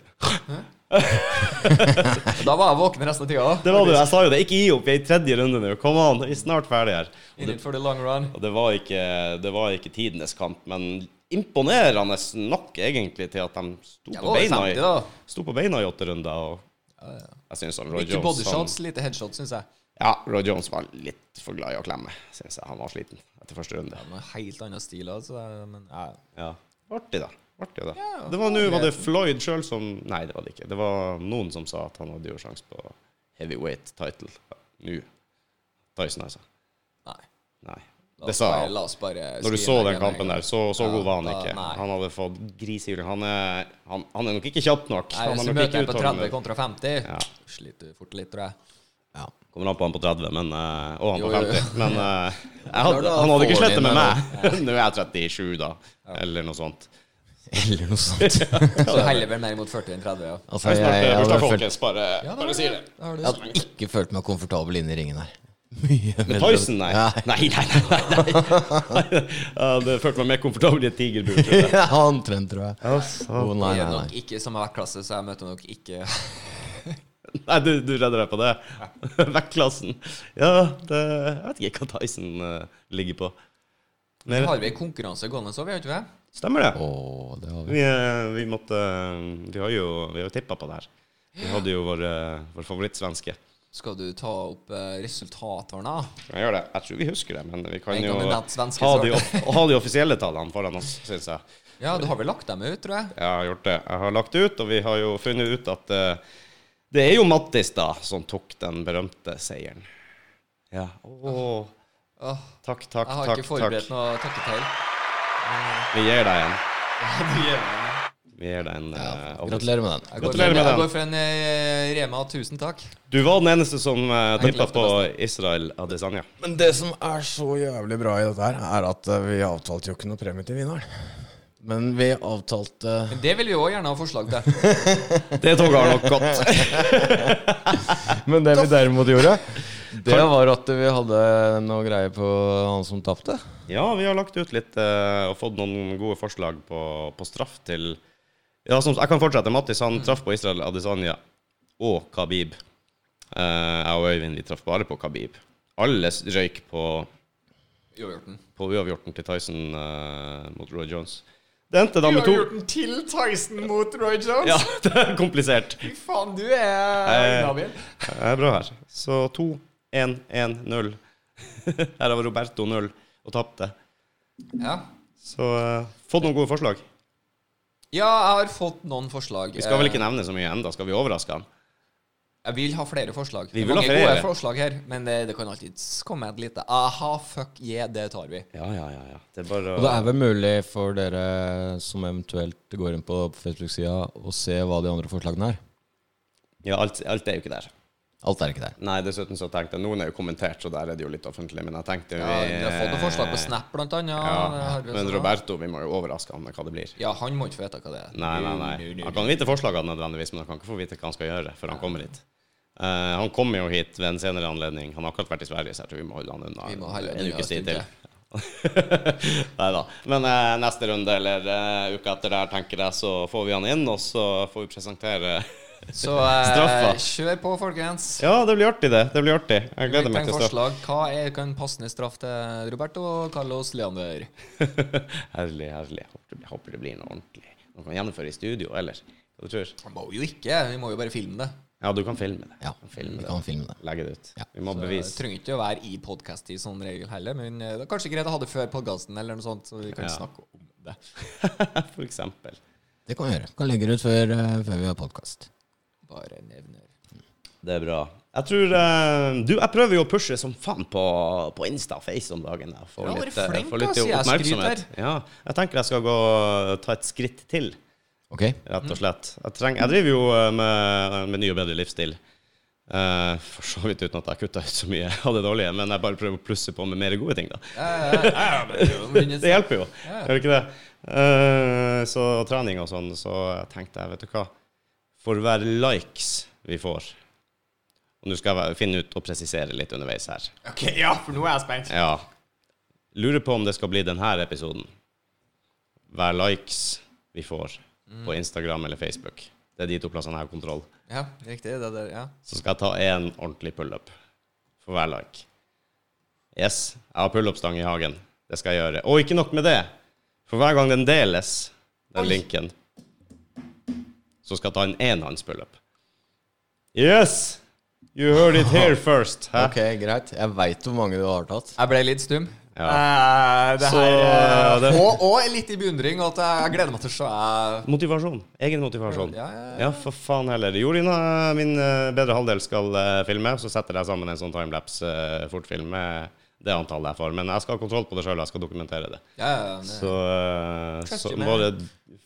[SPEAKER 1] Da var jeg våken resten av tida òg.
[SPEAKER 3] Det var du. Jeg sa jo det. Ikke gi opp. Vi er i tredje runde nå. Kom an, vi er snart ferdig her. Og
[SPEAKER 1] In
[SPEAKER 3] det,
[SPEAKER 1] it for the long run.
[SPEAKER 3] og det, var ikke, det var ikke tidenes kamp, men imponerende nok egentlig til at de sto
[SPEAKER 1] Jeg
[SPEAKER 3] på
[SPEAKER 1] var over
[SPEAKER 3] beina
[SPEAKER 1] 50,
[SPEAKER 3] i,
[SPEAKER 1] da. Eh,
[SPEAKER 3] sto på beina i åtte runder. Og jeg synes han Roy
[SPEAKER 1] Ikke
[SPEAKER 3] Jones han,
[SPEAKER 1] bodyshots, lite headshots, syns jeg.
[SPEAKER 3] Ja, Roy Jones var litt for glad i å klemme, syns jeg. Han var sliten etter første runde.
[SPEAKER 1] Det var en helt annen stil, altså. Men jeg
[SPEAKER 3] Ja. Artig, da. Artig, da.
[SPEAKER 1] Ja,
[SPEAKER 3] det var nå
[SPEAKER 1] det-
[SPEAKER 3] var det Floyd sjøl som Nei, det var det ikke. Det var noen som sa at han hadde jo sjanse på heavyweight title nå. Tyson, altså.
[SPEAKER 1] Nei.
[SPEAKER 3] Nei.
[SPEAKER 1] La
[SPEAKER 3] Det
[SPEAKER 1] oss
[SPEAKER 3] sa
[SPEAKER 1] bare-
[SPEAKER 3] han.
[SPEAKER 1] La oss bare
[SPEAKER 3] Når du
[SPEAKER 1] skri
[SPEAKER 3] så
[SPEAKER 1] veggen
[SPEAKER 3] den kampen
[SPEAKER 1] med en
[SPEAKER 3] der, så, så
[SPEAKER 1] Ja,
[SPEAKER 3] god var han
[SPEAKER 1] da-
[SPEAKER 3] ikke.
[SPEAKER 1] nei.
[SPEAKER 3] Han hadde fått grisejuling. Han, er- han, han er nok ikke kjapp nok.
[SPEAKER 1] gang. Nei,
[SPEAKER 3] Han
[SPEAKER 1] Hvis
[SPEAKER 3] er
[SPEAKER 1] du
[SPEAKER 3] nok
[SPEAKER 1] møter
[SPEAKER 3] ikke
[SPEAKER 1] en på 30
[SPEAKER 3] utholdende.
[SPEAKER 1] kontra 50,
[SPEAKER 3] Ja.
[SPEAKER 1] sliter du fort litt, tror jeg.
[SPEAKER 2] Ja.
[SPEAKER 3] Kommer an på han på 30, men, eh, og han
[SPEAKER 1] Jo,
[SPEAKER 3] på
[SPEAKER 1] jo, jo.
[SPEAKER 3] 50. Men eh, jeg
[SPEAKER 2] Klart
[SPEAKER 3] hadde,
[SPEAKER 2] da,
[SPEAKER 3] han hadde ikke
[SPEAKER 2] får
[SPEAKER 3] slettet
[SPEAKER 2] inn
[SPEAKER 3] med meg.
[SPEAKER 2] den,
[SPEAKER 3] Nå er jeg 37, da. Eller noe sånt.
[SPEAKER 2] Eller noe sånt.
[SPEAKER 1] Så du heller vel mer mot 40 enn 30, ja.
[SPEAKER 2] Altså,
[SPEAKER 3] Jeg
[SPEAKER 2] jeg, jeg,
[SPEAKER 3] snart
[SPEAKER 2] hadde
[SPEAKER 3] bursdag,
[SPEAKER 2] følt,
[SPEAKER 3] folkens. Bare,
[SPEAKER 1] Ja, da har
[SPEAKER 3] bare
[SPEAKER 1] du-
[SPEAKER 3] si det.
[SPEAKER 1] da har du-
[SPEAKER 2] jeg hadde ikke følt meg komfortabel inne i ringen her. Mye
[SPEAKER 3] Med
[SPEAKER 2] bedre.
[SPEAKER 3] Tyson, nei.
[SPEAKER 2] Ja.
[SPEAKER 3] Nei, nei, nei. nei, nei. Ja, det følte meg mer komfortabel i et tigerbur. tror jeg.
[SPEAKER 2] Ja, omtrent, tror jeg. Å, nei,
[SPEAKER 1] Jeg
[SPEAKER 2] nei,
[SPEAKER 1] er nok
[SPEAKER 2] nei.
[SPEAKER 1] ikke som jeg har vært klasse, så jeg møter nok ikke
[SPEAKER 3] Nei, du, du redder deg på det. Vektklassen. Ja, det, jeg vet ikke hva Tyson eh, ligger på.
[SPEAKER 1] Vi
[SPEAKER 3] Mer.
[SPEAKER 1] har vi en konkurranse gående så, vi har ikke det?
[SPEAKER 3] Stemmer det?
[SPEAKER 2] Å, det har vi.
[SPEAKER 3] Vi, eh, vi måtte eh, Vi har jo, vi har jo tippa på det her. Vi hadde jo vår, eh, vår favorittsvenske.
[SPEAKER 1] Skal du ta opp eh, resultatene?
[SPEAKER 3] Jeg, gjør det. jeg tror vi husker det, men vi kan
[SPEAKER 1] En
[SPEAKER 3] jo ha
[SPEAKER 1] kandidat svenske,
[SPEAKER 3] de, off- ha de offisielle tallene foran oss, syns jeg.
[SPEAKER 1] Ja, du har vel lagt dem ut, tror jeg.
[SPEAKER 3] Jeg har gjort det. Jeg har lagt det ut, og vi har jo funnet ut at eh, det er jo Mattis da som tok den berømte seieren. Ja. Åh,
[SPEAKER 1] Åh,
[SPEAKER 3] takk, takk,
[SPEAKER 1] jeg har
[SPEAKER 3] takk.
[SPEAKER 1] ikke
[SPEAKER 3] takk.
[SPEAKER 1] forberedt noe takketale.
[SPEAKER 3] Vi gir deg en.
[SPEAKER 1] Jeg
[SPEAKER 3] Vi gir deg en eh, applaus.
[SPEAKER 2] Gratulerer med den.
[SPEAKER 1] går for
[SPEAKER 3] Gratulerer
[SPEAKER 1] en-
[SPEAKER 3] med
[SPEAKER 1] Jeg
[SPEAKER 3] den.
[SPEAKER 1] går for en eh, Rema, tusen takk.
[SPEAKER 3] Du var den eneste som uh, tippa
[SPEAKER 1] klarte
[SPEAKER 3] på Israel Adesanya.
[SPEAKER 2] Men det som er så jævlig bra i dette her, er at eh, vi avtalte jo ikke noe premie til vinneren. Men vi avtalte
[SPEAKER 1] Men det vil vi òg gjerne ha forslag til.
[SPEAKER 3] Det toget har nok gått.
[SPEAKER 2] Men det vi derimot gjorde, det var at vi hadde noe greier på han som tapte.
[SPEAKER 3] Ja, vi har lagt ut litt eh, og fått noen gode forslag på, på straff til Ja, som, jeg kan fortsette. Mattis han traff på Israel Adesanya og Khabib. Eh, jeg og Øyvind vi traff bare på Khabib. Alle s- røyk på,
[SPEAKER 1] Jo, Hjorten.
[SPEAKER 3] på uavgjorten til Tyson eh, mot Roy Jones. Det endte da med to
[SPEAKER 1] til Tyson mot Roy Jones?
[SPEAKER 3] Ja, det er komplisert.
[SPEAKER 1] Fy faen, du er
[SPEAKER 3] Eh. Det er bra her. Så 2-1-1-0. Her var Roberto 0 og tapte.
[SPEAKER 1] Ja.
[SPEAKER 3] Så eh, fått noen gode forslag.
[SPEAKER 1] ja, jeg har fått noen forslag. Eh,
[SPEAKER 3] Vi skal vel ikke nevne så mye enda, skal vi overraske han?
[SPEAKER 1] Jeg vil ha flere forslag.
[SPEAKER 3] Vi
[SPEAKER 1] Det er
[SPEAKER 3] vil ha
[SPEAKER 1] mange
[SPEAKER 3] flere.
[SPEAKER 1] gode forslag her, men det, det kan alltid komme et lite aha, fuck yeah, det tar vi.
[SPEAKER 3] Ja, ja, ja. ja. Det er bare
[SPEAKER 2] Og det er vel mulig for dere som eventuelt går inn på Facebook-sida, å se hva de andre forslagene er?
[SPEAKER 3] Ja, alt, alt er jo ikke der.
[SPEAKER 2] Alt er ikke der.
[SPEAKER 3] Nei, dessuten så tenkte jeg Noen er jo kommentert, så der er det jo litt offentlig, men jeg tenkte
[SPEAKER 1] Ja, vi har fått noen forslag eh, på Snap, blant annet. det
[SPEAKER 3] Ja,
[SPEAKER 1] har vi
[SPEAKER 3] men
[SPEAKER 1] også.
[SPEAKER 3] Roberto, vi må jo overraske han med hva det blir.
[SPEAKER 1] Ja, han må ikke få vite hva det er.
[SPEAKER 3] Nei, nei, nei. Han kan vite forslagene nødvendigvis, men han kan ikke få vite hva han skal gjøre før han kommer hit. Eh, han kommer jo hit ved en senere anledning. Han har akkurat vært i Sverige, så jeg tror vi må holde han unna
[SPEAKER 1] Vi må holde han
[SPEAKER 3] en
[SPEAKER 1] unna
[SPEAKER 3] ukes tid til.
[SPEAKER 1] en
[SPEAKER 3] Nei da. Men eh, neste runde eller eh, uka etter der, tenker jeg, så får vi han inn, og så får vi presentere
[SPEAKER 1] Så eh,
[SPEAKER 3] Straffa.
[SPEAKER 1] kjør på, folkens.
[SPEAKER 3] Ja, det blir artig, det. Det blir artig. Jeg gleder meg
[SPEAKER 1] trenger
[SPEAKER 3] til straff.
[SPEAKER 1] forslag. Hva er kan passende straff til Roberto og Carlos Leander?
[SPEAKER 3] herlig, herlig. Håper det, håper det blir noe ordentlig. Noe kan gjennomføre i studio, eller? Hva du tror?
[SPEAKER 1] Han må jo ikke, vi må jo bare filme det.
[SPEAKER 3] Ja, du kan filme det.
[SPEAKER 2] Ja,
[SPEAKER 3] Du kan
[SPEAKER 2] vi
[SPEAKER 3] filme det.
[SPEAKER 2] kan filme det.
[SPEAKER 3] Legge det ut.
[SPEAKER 2] Ja.
[SPEAKER 3] Vi må
[SPEAKER 1] Så eh, Det
[SPEAKER 3] bevise.
[SPEAKER 1] trenger ikke å være i podkast-tid som regel heller, men eh, det er kanskje greit å ha det før podkasten eller noe sånt, så vi kan
[SPEAKER 3] Ja.
[SPEAKER 1] snakke om det.
[SPEAKER 3] For eksempel.
[SPEAKER 2] Det kan vi gjøre. Kan legge det ut før, eh, før vi har podkast.
[SPEAKER 1] Bare nevner.
[SPEAKER 3] Det er bra. Jeg tror eh, Du, jeg prøver jo å pushe som faen på, på Insta og Face om dagen. Jeg får
[SPEAKER 1] Ja, bare
[SPEAKER 3] litt, eh,
[SPEAKER 1] flink,
[SPEAKER 3] får litt
[SPEAKER 1] da, sier jeg, skryt
[SPEAKER 3] oppmerksomhet. Ja, jeg tenker jeg skal gå ta et skritt til.
[SPEAKER 2] Ok?
[SPEAKER 3] rett og slett. Jeg, treng, jeg driver jo eh, med, med ny og bedre livsstil. Eh, for så vidt uten at jeg kutta ut så mye av det dårlige, men jeg bare prøver å plusse på med mer gode ting, da. Det hjelper jo, gjør det ikke det? Eh, så og trening og sånn, så jeg tenkte jeg, vet du hva For hver likes vi får Og nå skal jeg være- finne ut og presisere litt underveis her.
[SPEAKER 1] Ok, ja, for nå er jeg spent.
[SPEAKER 3] Ja. Lurer på om det skal bli denne episoden. Hver likes vi får på Instagram eller Facebook. Det er de to plassene jeg har kontroll.
[SPEAKER 1] Ja, riktig. Det der, ja.
[SPEAKER 3] Så skal jeg ta én ordentlig pullup for hver like. Yes, jeg har pullupstang i hagen. Det skal jeg gjøre. Og ikke nok med det. For hver gang den deles, den
[SPEAKER 1] Oi.
[SPEAKER 3] linken, så skal jeg ta en enhåndspullup. Yes! You heard it here first. Hæ?
[SPEAKER 2] Ok, greit. Jeg veit hvor mange du har tatt.
[SPEAKER 1] Jeg ble litt stum. Eh, det
[SPEAKER 3] Så,
[SPEAKER 1] her, eh,
[SPEAKER 3] det-
[SPEAKER 1] og, og litt i beundring. At jeg, jeg gleder meg til å se eh,
[SPEAKER 3] Motivasjon. Egen motivasjon.
[SPEAKER 1] Ja, ja, ja.
[SPEAKER 3] for faen heller. Jorina, min eh, bedre halvdel, skal eh, filme. Så setter jeg sammen en sånn timelapse-fortfilm med det antallet jeg får. Men jeg skal ha kontroll på det sjøl, jeg skal dokumentere det.
[SPEAKER 1] ja, ja, det-
[SPEAKER 3] Så, eh,
[SPEAKER 1] Trust
[SPEAKER 3] så
[SPEAKER 1] you, man.
[SPEAKER 3] bare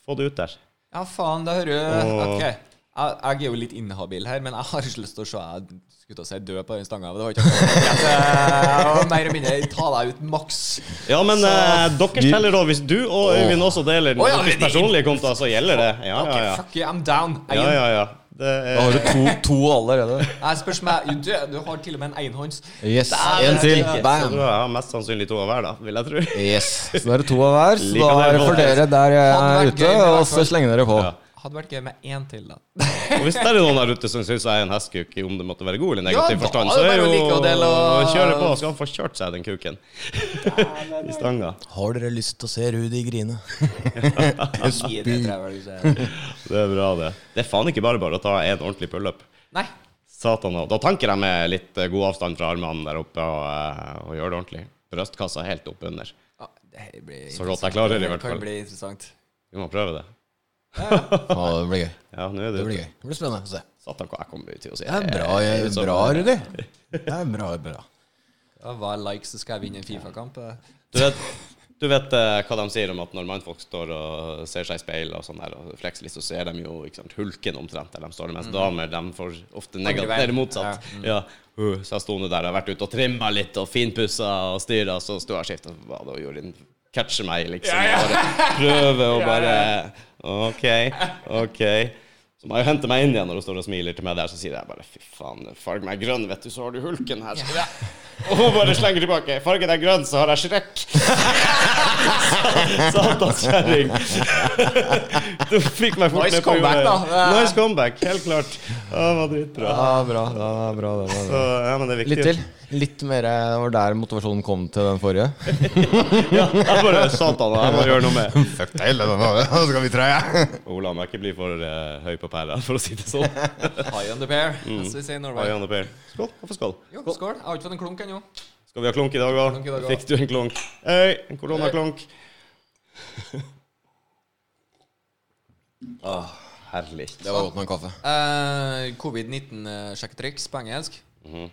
[SPEAKER 3] få det ut der.
[SPEAKER 1] ja, faen, det hører jo
[SPEAKER 3] Åh.
[SPEAKER 1] Ok. Jeg, jeg er jo litt inhabil her, men jeg har ikke lyst til å se jeg skulle til å si død på den stanga. Det var ikke akkurat greit. Jeg må mer eller mindre ta deg ut maks.
[SPEAKER 3] Ja, men
[SPEAKER 1] Så-
[SPEAKER 3] eh, deres teller òg. Hvis du og Øyvind også deler
[SPEAKER 1] Å, ja,
[SPEAKER 3] deres
[SPEAKER 1] men-
[SPEAKER 3] personlige kontoer, så gjelder det. Ja,
[SPEAKER 1] Ok,
[SPEAKER 3] ja, ja.
[SPEAKER 1] fuck you, I'm down. Jeg,
[SPEAKER 3] ja, ja, ja. Det
[SPEAKER 2] Da har
[SPEAKER 3] er,
[SPEAKER 2] du to, to allerede.
[SPEAKER 1] jeg spørs meg du, du har til og med en enhånds.
[SPEAKER 2] Yes,
[SPEAKER 1] Der,
[SPEAKER 2] en til.
[SPEAKER 1] ja.
[SPEAKER 3] så
[SPEAKER 2] Bam!
[SPEAKER 3] tror jeg jeg har mest sannsynlig to av hver, da, vil jeg tro.
[SPEAKER 2] Yes. Så da er det to av hver. Så da
[SPEAKER 3] Likevel,
[SPEAKER 2] er det for
[SPEAKER 3] folkens.
[SPEAKER 2] dere der jeg
[SPEAKER 1] Hadde
[SPEAKER 2] er
[SPEAKER 1] vært
[SPEAKER 2] ute,
[SPEAKER 1] gøy, men
[SPEAKER 2] og så
[SPEAKER 1] hvertfall-
[SPEAKER 2] slenger dere på.
[SPEAKER 3] Ja.
[SPEAKER 1] Hadde vært gøy med én til, da.
[SPEAKER 3] Og hvis det er noen der ute som syns jeg er en hestkuk, om det måtte være god eller
[SPEAKER 1] Ja,
[SPEAKER 3] negativ
[SPEAKER 1] da
[SPEAKER 3] forstand,
[SPEAKER 1] er
[SPEAKER 3] så
[SPEAKER 1] det
[SPEAKER 3] er
[SPEAKER 1] bare å
[SPEAKER 3] jo
[SPEAKER 1] like å dele og-
[SPEAKER 3] kjøre på, så han får kjørt seg den kuken i stanga.
[SPEAKER 2] Har dere lyst til å se Rudi grine?
[SPEAKER 1] Fire, tror jeg vel du sier.
[SPEAKER 3] Det er bra, det. Det er faen ikke bare bare å ta en ordentlig pullup.
[SPEAKER 1] Nei.
[SPEAKER 3] Satan òg. Da tanker jeg med litt eh, god avstand fra armene der oppe og, eh, og gjør det ordentlig. Brystkassa helt oppunder.
[SPEAKER 1] Ah, Det her blir
[SPEAKER 3] Så godt jeg klarer det, i hvert
[SPEAKER 1] Det
[SPEAKER 3] fall.
[SPEAKER 1] kan bli interessant.
[SPEAKER 3] Vi må prøve det.
[SPEAKER 2] Ja, det blir gøy.
[SPEAKER 3] Ja, nå er
[SPEAKER 2] Det
[SPEAKER 3] det
[SPEAKER 2] blir gøy. Det blir spennende å se.
[SPEAKER 3] Satan, hva jeg kommer ut i å si.
[SPEAKER 2] Det er bra,
[SPEAKER 3] Jeg er ut som-
[SPEAKER 2] bra Rudi. Det er bra, bra.
[SPEAKER 1] Ja, hva er likes, så skal jeg vinne en Fifa-kamp? eh.
[SPEAKER 3] Du vet, du vet eh, hva de sier om at når mannfolk står og ser seg i speil og sånn der, og flekser litt, så ser de jo ikke sant, hulken omtrent der de står, mens damer de får ofte
[SPEAKER 1] Andre
[SPEAKER 3] negativt
[SPEAKER 1] veien.
[SPEAKER 3] eller motsatt. Ja. Uh, så jeg sto nå der og har vært ute og trimma litt og finpussa og styra, så sto jeg og skifta, så var det og gjorde en catcher meg, liksom. og Bare prøve og bare OK, OK. Så må jeg jo hente meg inn igjen når hun står og smiler til meg der, så sier jeg bare fy faen, farg meg grønn, vet du, så har du hulken her. Ja. Og hun bare slenger tilbake. Fargen er grønn, så har jeg Shrek. Satans kjerring. Du fikk meg fort
[SPEAKER 1] Nice
[SPEAKER 3] ned på jorda
[SPEAKER 1] comeback,
[SPEAKER 3] igjen.
[SPEAKER 1] da.
[SPEAKER 3] Nice comeback, helt klart. Ja, det var dritbra.
[SPEAKER 2] Ja, bra. Det er bra, det er
[SPEAKER 3] Så,
[SPEAKER 2] bra.
[SPEAKER 3] ja, men det er viktig.
[SPEAKER 2] Litt til. Litt mer eh, var der motivasjonen kom til den forrige.
[SPEAKER 3] Ja, jeg bare Satan, jeg må gjøre noe med
[SPEAKER 2] Fuck deg, hele den skal vi treie.
[SPEAKER 3] Ola må ikke bli for eh, høy på pæra, for å si det sånn.
[SPEAKER 1] High on the pair,
[SPEAKER 3] Mm.
[SPEAKER 1] as we say in
[SPEAKER 3] Hei,
[SPEAKER 1] Norway.
[SPEAKER 3] Anne Per. Skål. Hvorfor skål?
[SPEAKER 1] Jo, skål. Jeg har ikke fått en klunk ennå.
[SPEAKER 3] Skal vi ha klunk i dag
[SPEAKER 1] Klunk i dag
[SPEAKER 3] òg?
[SPEAKER 1] også.
[SPEAKER 3] Fikk du en klunk? Hei, en koronaklunk. Åh, Ah, herlig.
[SPEAKER 2] Det var godt med en kaffe.
[SPEAKER 1] Eh, Covid-19-sjekketriks på engelsk.
[SPEAKER 3] Mhm.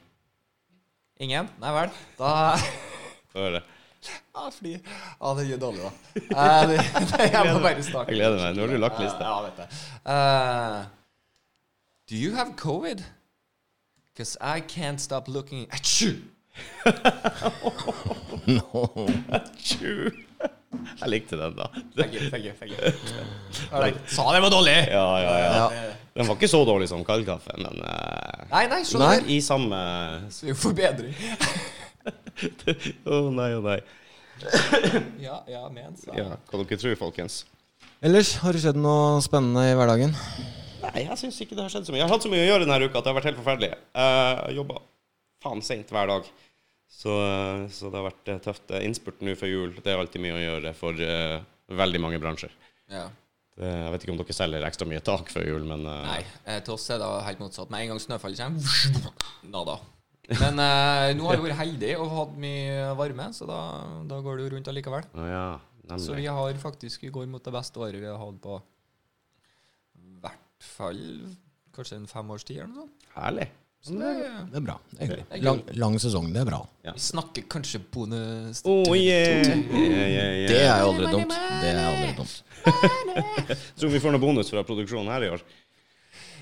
[SPEAKER 1] Ingen? Nei vel. Da
[SPEAKER 3] Få høre.
[SPEAKER 1] Ja, fly. Ja, det gjør dårlig, da. Eh, det, det, jeg må bare snakke.
[SPEAKER 3] Jeg gleder meg. Nå har du lagt lista.
[SPEAKER 1] Ja, jeg vet det. Eh, do you have covid? Because I can't stop looking at you.
[SPEAKER 3] Tju. Jeg likte den, da.
[SPEAKER 1] Thank you, thank you, thank you. Alright. Sa det var dårlig!
[SPEAKER 3] Ja, ja, ja.
[SPEAKER 2] Ja.
[SPEAKER 3] Den var ikke så dårlig som kald kaffe, men eh,
[SPEAKER 1] Nei, nei, se
[SPEAKER 2] Nei.
[SPEAKER 1] der.
[SPEAKER 3] i samme
[SPEAKER 1] Det er jo forbedring.
[SPEAKER 3] Å nei, å nei.
[SPEAKER 1] Ja, ja, men så.
[SPEAKER 3] Ja, hva dere tror, folkens?
[SPEAKER 2] Ellers, har det skjedd noe spennende i hverdagen?
[SPEAKER 3] Nei, jeg syns ikke det har skjedd så mye. Jeg har hatt så mye å gjøre denne uka at det har vært helt forferdelig. Eh, Jeg jobba faen seint hver dag. Så, eh, så det har vært eh, tøft. Eh, Innspurt nå før jul, det er alltid mye å gjøre for eh, veldig mange bransjer.
[SPEAKER 1] Ja.
[SPEAKER 3] Det, jeg vet ikke om dere selger ekstra mye tak før jul, men eh,
[SPEAKER 1] Nei, eh, til oss er det helt motsatt. Med en gang snøfallet kommer, nada. Men eh, nå har vi vært heldige og hatt mye varme, så da, da går det jo rundt allikevel.
[SPEAKER 3] Å ja,
[SPEAKER 1] Så
[SPEAKER 3] nemlig.
[SPEAKER 1] vi har faktisk går mot det beste året vi har hatt på hvert fall kanskje en fem års tid eller noe sånt.
[SPEAKER 3] Herlig.
[SPEAKER 1] Så det,
[SPEAKER 3] Mm.
[SPEAKER 2] Det er bra. Det er hyggelig. Lang, lang sesong, det er bra.
[SPEAKER 1] vi snakker kanskje bonus
[SPEAKER 3] Oh, yeah. Yeah, yeah, yeah.
[SPEAKER 2] Det er jo aldri dumt. Det er aldri dumt.
[SPEAKER 3] Tror vi får noe bonus fra produksjonen her i år.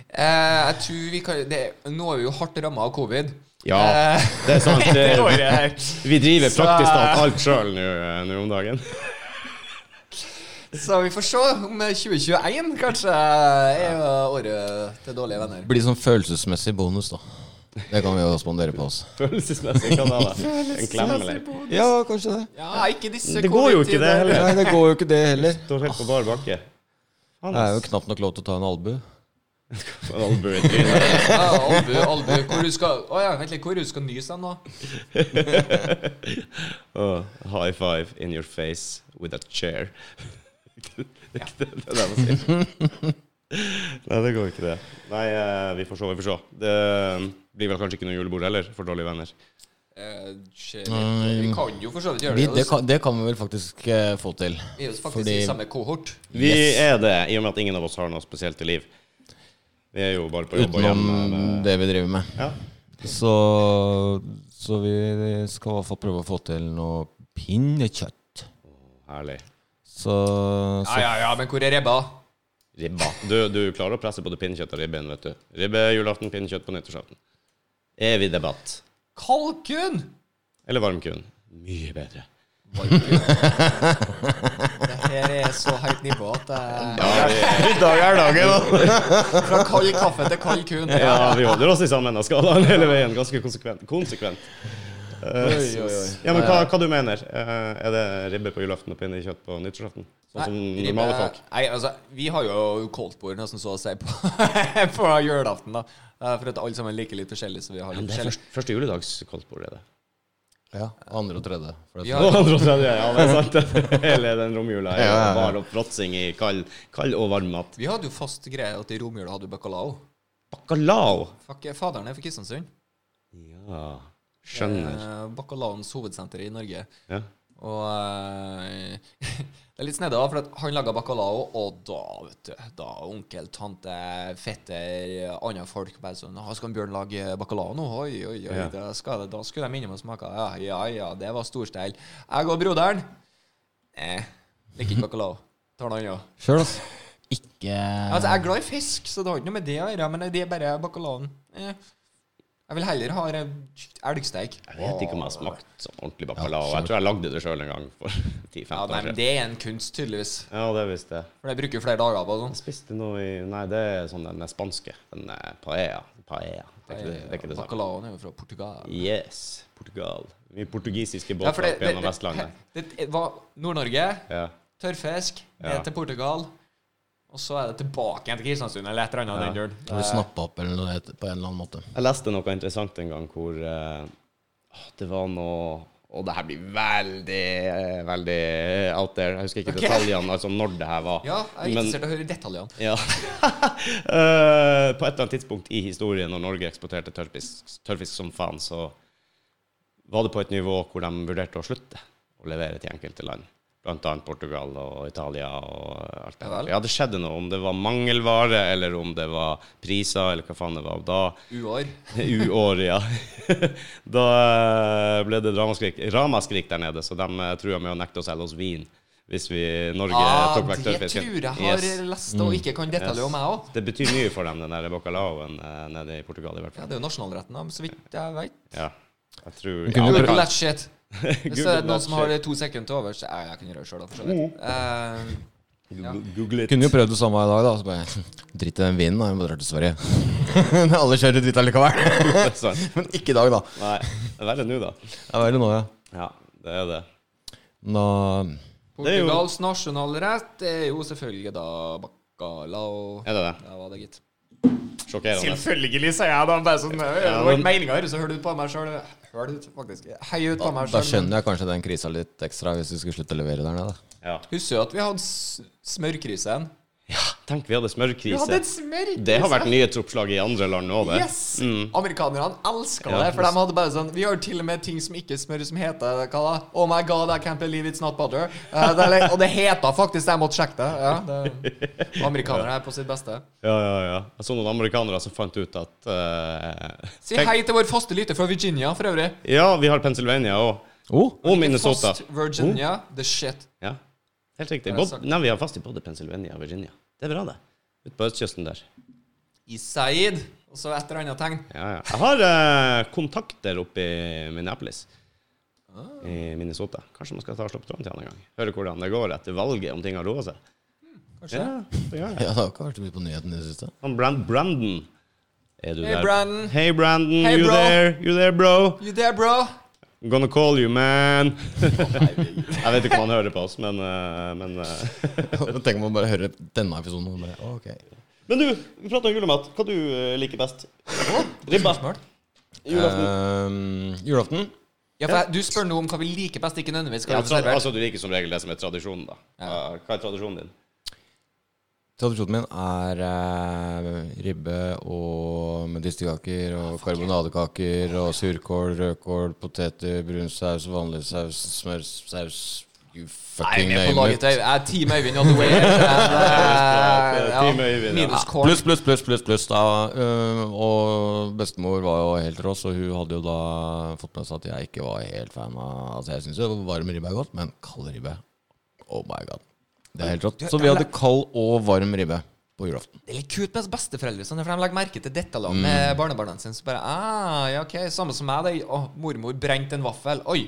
[SPEAKER 1] Eh, jeg tror vi kan det, Nå er vi jo hardt ramma av covid.
[SPEAKER 3] Ja,
[SPEAKER 1] Eh,
[SPEAKER 3] det er sant.
[SPEAKER 1] det året her.
[SPEAKER 3] vi driver
[SPEAKER 1] Så-
[SPEAKER 3] praktisk talt alt sjøl nå eh, nå om dagen.
[SPEAKER 1] Så vi får se om 2021 kanskje er jo året til dårlige venner.
[SPEAKER 2] Blir sånn følelsesmessig bonus, da. Det kan vi jo spandere på oss.
[SPEAKER 3] Følelsesmessig kan det være. En klemmeleir.
[SPEAKER 2] Ja, kanskje det.
[SPEAKER 1] Ja, ikke disse
[SPEAKER 3] Det går jo ikke, det
[SPEAKER 1] covid-tider.
[SPEAKER 3] heller.
[SPEAKER 2] Nei, det går jo ikke det heller.
[SPEAKER 3] Står helt på bar bakke.
[SPEAKER 2] Det er jo knapt nok lov til å ta en albue.
[SPEAKER 3] En albue i trynet.
[SPEAKER 1] Ja, albu, albu. Hvor du skal Å ja, vent litt. Hvor du skal nyse hen, da?
[SPEAKER 3] Åh, High five in your face with a chair. Det er ikke det det er det man sier. Nei, det går ikke, det. Nei, eh, vi får se, vi får se. Det eh, blir vel kanskje ikke noe julebord heller, for dårlige venner.
[SPEAKER 1] Eh, shit, vi kan jo for så vidt gjøre
[SPEAKER 2] Vi,
[SPEAKER 1] det.
[SPEAKER 2] det, kan, det kan vi vel faktisk eh, få til.
[SPEAKER 1] Vi er jo faktisk
[SPEAKER 2] Fordi-
[SPEAKER 1] i samme kohort.
[SPEAKER 3] Vi
[SPEAKER 2] Yes.
[SPEAKER 3] er det, i og med at ingen av oss har noe spesielt i liv. Vi er jo bare på jobb og hjemme.
[SPEAKER 2] Utenom
[SPEAKER 1] eh.
[SPEAKER 3] eller-
[SPEAKER 2] det vi driver med.
[SPEAKER 3] Ja.
[SPEAKER 2] Så, så vi skal i hvert fall prøve å få til noe pinnekjøtt.
[SPEAKER 3] Herlig.
[SPEAKER 2] Så,
[SPEAKER 1] Ja,
[SPEAKER 2] så
[SPEAKER 1] ja, ja, men hvor er ribba?
[SPEAKER 3] Ribba. Du, du klarer å presse både pinnekjøtt og ribben, vet du. Ribbe julaften, pinnekjøtt på nyttårsaften. Evig debatt.
[SPEAKER 1] Kalkun!
[SPEAKER 3] Eller varmkun. Mye bedre.
[SPEAKER 1] Det her er så høyt nivå at eh, jeg
[SPEAKER 3] Ja, vi,
[SPEAKER 1] Fra kald kaffe til kald kun.
[SPEAKER 3] ja, vi holder oss i samme ende av skalaen hele veien. Ganske konsekvent. konsekvent. Eh, Ja, men hva, hva du mener Eh, Er det ribbe på julaften og pinnekjøtt på nyttårsaften? Sånn som
[SPEAKER 1] Nei,
[SPEAKER 3] normale
[SPEAKER 1] ribbe-
[SPEAKER 3] folk?
[SPEAKER 1] Nei, altså, vi har jo koldtbord nesten så å si på, på julaften, da. Eh, For at alle sammen liker litt forskjellig, så vi har litt
[SPEAKER 3] Det er
[SPEAKER 1] forskjellig.
[SPEAKER 3] første, første juledagskoldtbord, er det.
[SPEAKER 2] ja, andre og tredje. For det
[SPEAKER 1] Vi har,
[SPEAKER 3] Og andre og tredje, ja, det er sant. Hele den romjula er
[SPEAKER 2] Ja,
[SPEAKER 3] jo
[SPEAKER 2] ja, ja.
[SPEAKER 3] bare oppfråtsing i kald, kald og varm mat.
[SPEAKER 1] vi hadde jo fast greie at i romjula hadde du bacalao.
[SPEAKER 3] Bacalao!
[SPEAKER 1] Fuck, jeg- Faderen er fra Kristiansund.
[SPEAKER 3] Ja, skjønner.
[SPEAKER 1] Eh, Bacalaoens hovedsenter i Norge.
[SPEAKER 3] Ja.
[SPEAKER 1] Og eh, det er litt snedig, da, for at han laga bacalao, og da, vet du Da onkel, tante, fetter, andre folk bare sånn «Å, 'Skal han Bjørn lage bacalao nå?' Oi, oi, oi.
[SPEAKER 3] Ja.
[SPEAKER 1] Da, skal det, da skulle de innom og smake. Ja, ja, ja, det var storstell. Jeg og broderen eh, liker ikke bacalao. Tar noe annet.
[SPEAKER 2] Sjøl, altså. Ikke
[SPEAKER 1] Altså, jeg er glad i fisk, så det har ikke noe med det å gjøre, men det er bare bacalaoen. Eh. Jeg vil heller ha en elgsteik.
[SPEAKER 3] Jeg vet ikke om jeg har smakt sånn ordentlig bacalao.
[SPEAKER 2] Ja,
[SPEAKER 3] Jeg tror jeg lagde det sjøl en gang for 10-15
[SPEAKER 1] Ja, nei,
[SPEAKER 3] år
[SPEAKER 1] men
[SPEAKER 3] siden.
[SPEAKER 1] det er en kunst, tydeligvis.
[SPEAKER 3] Ja, det visste jeg.
[SPEAKER 1] For det bruker jo flere dager på sånn.
[SPEAKER 3] Jeg spiste noe i Nei, det er sånn den spanske. Den eh, paella. Paella. Det er ikke det, det, er ikke det samme.
[SPEAKER 1] Bacalaoen er jo fra Portugal.
[SPEAKER 3] Yes. Portugal. Mye portugisiske
[SPEAKER 1] Ja,
[SPEAKER 3] båter
[SPEAKER 1] for det,
[SPEAKER 3] opp
[SPEAKER 1] det,
[SPEAKER 3] gjennom
[SPEAKER 1] det,
[SPEAKER 3] Vestlandet.
[SPEAKER 1] det, det var Nord-Norge,
[SPEAKER 3] Ja.
[SPEAKER 1] tørrfisk,
[SPEAKER 3] Ja.
[SPEAKER 1] ned til Portugal. Og så er det tilbake igjen til Kristiansund eller et eller annet. den duren.
[SPEAKER 2] Blir snappa eh, opp eller noe, på en eller annen måte.
[SPEAKER 3] Jeg leste noe interessant en gang hvor eh, åh, det var noe Og det her blir veldig, eh, veldig out there. Jeg husker ikke
[SPEAKER 1] Ok.
[SPEAKER 3] detaljene, altså når det her var.
[SPEAKER 1] Ja, jeg er
[SPEAKER 3] Men-
[SPEAKER 1] interessert i å høre detaljene.
[SPEAKER 3] Ja. Eh, på et eller annet tidspunkt i historien når Norge eksporterte tørrfisk, tørrfisk som faen, så var det på et nivå hvor de vurderte å slutte å levere til enkelte land. Blant annet Portugal og Italia og alt det
[SPEAKER 1] Ja vel.
[SPEAKER 3] der. Ja, det skjedde noe. Om det var mangelvare, eller om det var priser, eller hva faen det var. Da
[SPEAKER 1] Uår.
[SPEAKER 3] Uår, ja. da eh, ble det ramaskrik, ramaskrik der nede, så de eh, trua med å nekte å selge oss vin hvis vi Norge
[SPEAKER 1] Ah,
[SPEAKER 3] tok vekk
[SPEAKER 1] det
[SPEAKER 3] tørrfisken.
[SPEAKER 1] tror jeg har
[SPEAKER 3] Yes.
[SPEAKER 1] lest og ikke kan detaljer om, jeg òg.
[SPEAKER 3] Det betyr mye for dem, den der bacalaoen eh, nede i Portugal, i hvert
[SPEAKER 1] Ja,
[SPEAKER 3] fall.
[SPEAKER 1] det er jo nasjonalretten, da, men så vidt jeg vet.
[SPEAKER 3] Ja. Jeg tror
[SPEAKER 2] kunne jo
[SPEAKER 3] det
[SPEAKER 1] Google
[SPEAKER 3] kan-
[SPEAKER 1] that shit. Hvis det er
[SPEAKER 3] Google
[SPEAKER 1] noen
[SPEAKER 3] that
[SPEAKER 1] som har
[SPEAKER 3] shit. Oh.
[SPEAKER 1] to sekunder til overs Ja, jeg kan gjøre det sjøl, da, for så vidt. Eh,
[SPEAKER 3] Google- Google it.
[SPEAKER 2] Kunne jo prøvd det samme i dag, da. Så bare Dritt i den vinen, da. Vi må dra til Sverige. Alle kjører dritt allikevel.
[SPEAKER 3] Det er sant.
[SPEAKER 2] Men ikke i dag, da.
[SPEAKER 3] Nei, det er verre nå, da.
[SPEAKER 2] Det er verre nå, ja.
[SPEAKER 3] Ja, det er det.
[SPEAKER 2] Nå
[SPEAKER 3] Det er jo-
[SPEAKER 1] Portugals nasjonalrett er jo selvfølgelig da bacalao.
[SPEAKER 3] Er det det?
[SPEAKER 1] Ja, var det, gitt.
[SPEAKER 3] Sjokkerende.
[SPEAKER 1] Selvfølgelig, sier jeg da. Bare sånn, det
[SPEAKER 3] Ja,
[SPEAKER 1] var
[SPEAKER 3] men-
[SPEAKER 1] ikke meninga å høre, så hører du på meg sjøl. Hør ut, faktisk. Hei ut på meg
[SPEAKER 2] Da
[SPEAKER 1] sjøl.
[SPEAKER 2] skjønner jeg kanskje den krisa litt ekstra, hvis vi skulle slutte å levere der nede. da.
[SPEAKER 3] Ja.
[SPEAKER 1] Husker du at vi hadde s- smørkrisen?
[SPEAKER 3] ja. Tenk, vi hadde
[SPEAKER 1] Vi
[SPEAKER 3] smørkrise.
[SPEAKER 1] hadde en smørkrise.
[SPEAKER 3] Det har vært nyhetsoppslag i andre land nå, det. Mm.
[SPEAKER 1] Yes! Amerikanerne elska
[SPEAKER 3] Ja,
[SPEAKER 1] det, for de hadde bare sånn Vi har til og med ting som ikke smør, som heter hva da? Oh my god, I can't believe it's not butter. Eh, det er, litt- og det heter faktisk Jeg måtte sjekke det. Ja, det amerikanere er på sitt beste.
[SPEAKER 3] Ja, ja, ja. Jeg så noen amerikanere som fant ut at eh,
[SPEAKER 1] Si
[SPEAKER 3] tenk-
[SPEAKER 1] hei til vår faste lytter fra Virginia, for øvrig.
[SPEAKER 3] Ja, vi har Pennsylvania òg.
[SPEAKER 2] Oh.
[SPEAKER 3] Og Minnesota. Oh.
[SPEAKER 1] Fast Virginia, the shit.
[SPEAKER 3] Ja, helt riktig.
[SPEAKER 1] er
[SPEAKER 3] Bod,
[SPEAKER 1] sagt.
[SPEAKER 3] nei, vi har fast i både Pennsylvania og Virginia. Det er bra, det. Ute på østkysten der.
[SPEAKER 1] I Said. Og så et eller annet tegn.
[SPEAKER 3] Ja, ja. Jeg har eh, kontakter oppe i Minneapolis.
[SPEAKER 1] Ah.
[SPEAKER 3] I Minnesota. Kanskje man skal ta og slå på tråden til han en gang. Høre hvordan det går etter valget, om ting har roa seg.
[SPEAKER 1] Kanskje.
[SPEAKER 3] Ja, det gjør jeg.
[SPEAKER 2] Ja, det har ikke vært så mye på nyhetene i det siste.
[SPEAKER 3] Han Brand Brandon. Er du
[SPEAKER 1] Hey,
[SPEAKER 3] der?
[SPEAKER 1] Brandon.
[SPEAKER 3] Hey, Brandon.
[SPEAKER 1] Hey,
[SPEAKER 3] you
[SPEAKER 1] bro.
[SPEAKER 3] there? You there, bro?
[SPEAKER 1] You there, bro?
[SPEAKER 3] I'm gonna call you, man. jeg vet ikke om han hører på oss, men, eh, men eh.
[SPEAKER 2] Tenk om man bare hører denne episoden og bare OK.
[SPEAKER 3] Men du, vi prater om julemat. Hva du eh, liker best? Ribba.
[SPEAKER 1] Spørsmål?
[SPEAKER 3] Julaften.
[SPEAKER 2] Ehm, julaften.
[SPEAKER 1] Ja, for jeg, du spør nå om hva vi liker best, ikke nødvendigvis hva
[SPEAKER 3] Ja,
[SPEAKER 1] vi
[SPEAKER 3] tra
[SPEAKER 1] serverer.
[SPEAKER 3] altså, du liker som regel det som er tradisjonen, da. Eh, Hva er tradisjonen din?
[SPEAKER 2] Tradisjonen min er eh, ribbe og med dystekaker og karbonadekaker og surkål, rødkål, poteter, brun saus, vanlig saus, smørsaus You
[SPEAKER 1] Jeg er
[SPEAKER 2] fucking
[SPEAKER 1] med på
[SPEAKER 2] name
[SPEAKER 1] laget
[SPEAKER 2] it.
[SPEAKER 1] til Øyvind. Jeg er Team Øyvind all the way. And, uh, ja,
[SPEAKER 3] Team Øyvind, ja.
[SPEAKER 1] Minus corn.
[SPEAKER 2] Pluss, pluss, pluss, pluss. pluss da. Eh, og bestemor var jo helt rå, så hun hadde jo da fått med seg at jeg ikke var helt fan av Altså, jeg syns jo varm ribbe er godt, men kald ribbe Oh my god. Det er helt rått. Så vi hadde kald og varm ribbe på julaften.
[SPEAKER 1] Det er litt kult med besteforeldre, sånn, for de legger merke til detaljer med
[SPEAKER 3] Mm.
[SPEAKER 1] barnebarna sine. Så bare, ah, ja, ok, Samme som meg. da. Å, mormor brente en vaffel. Oi,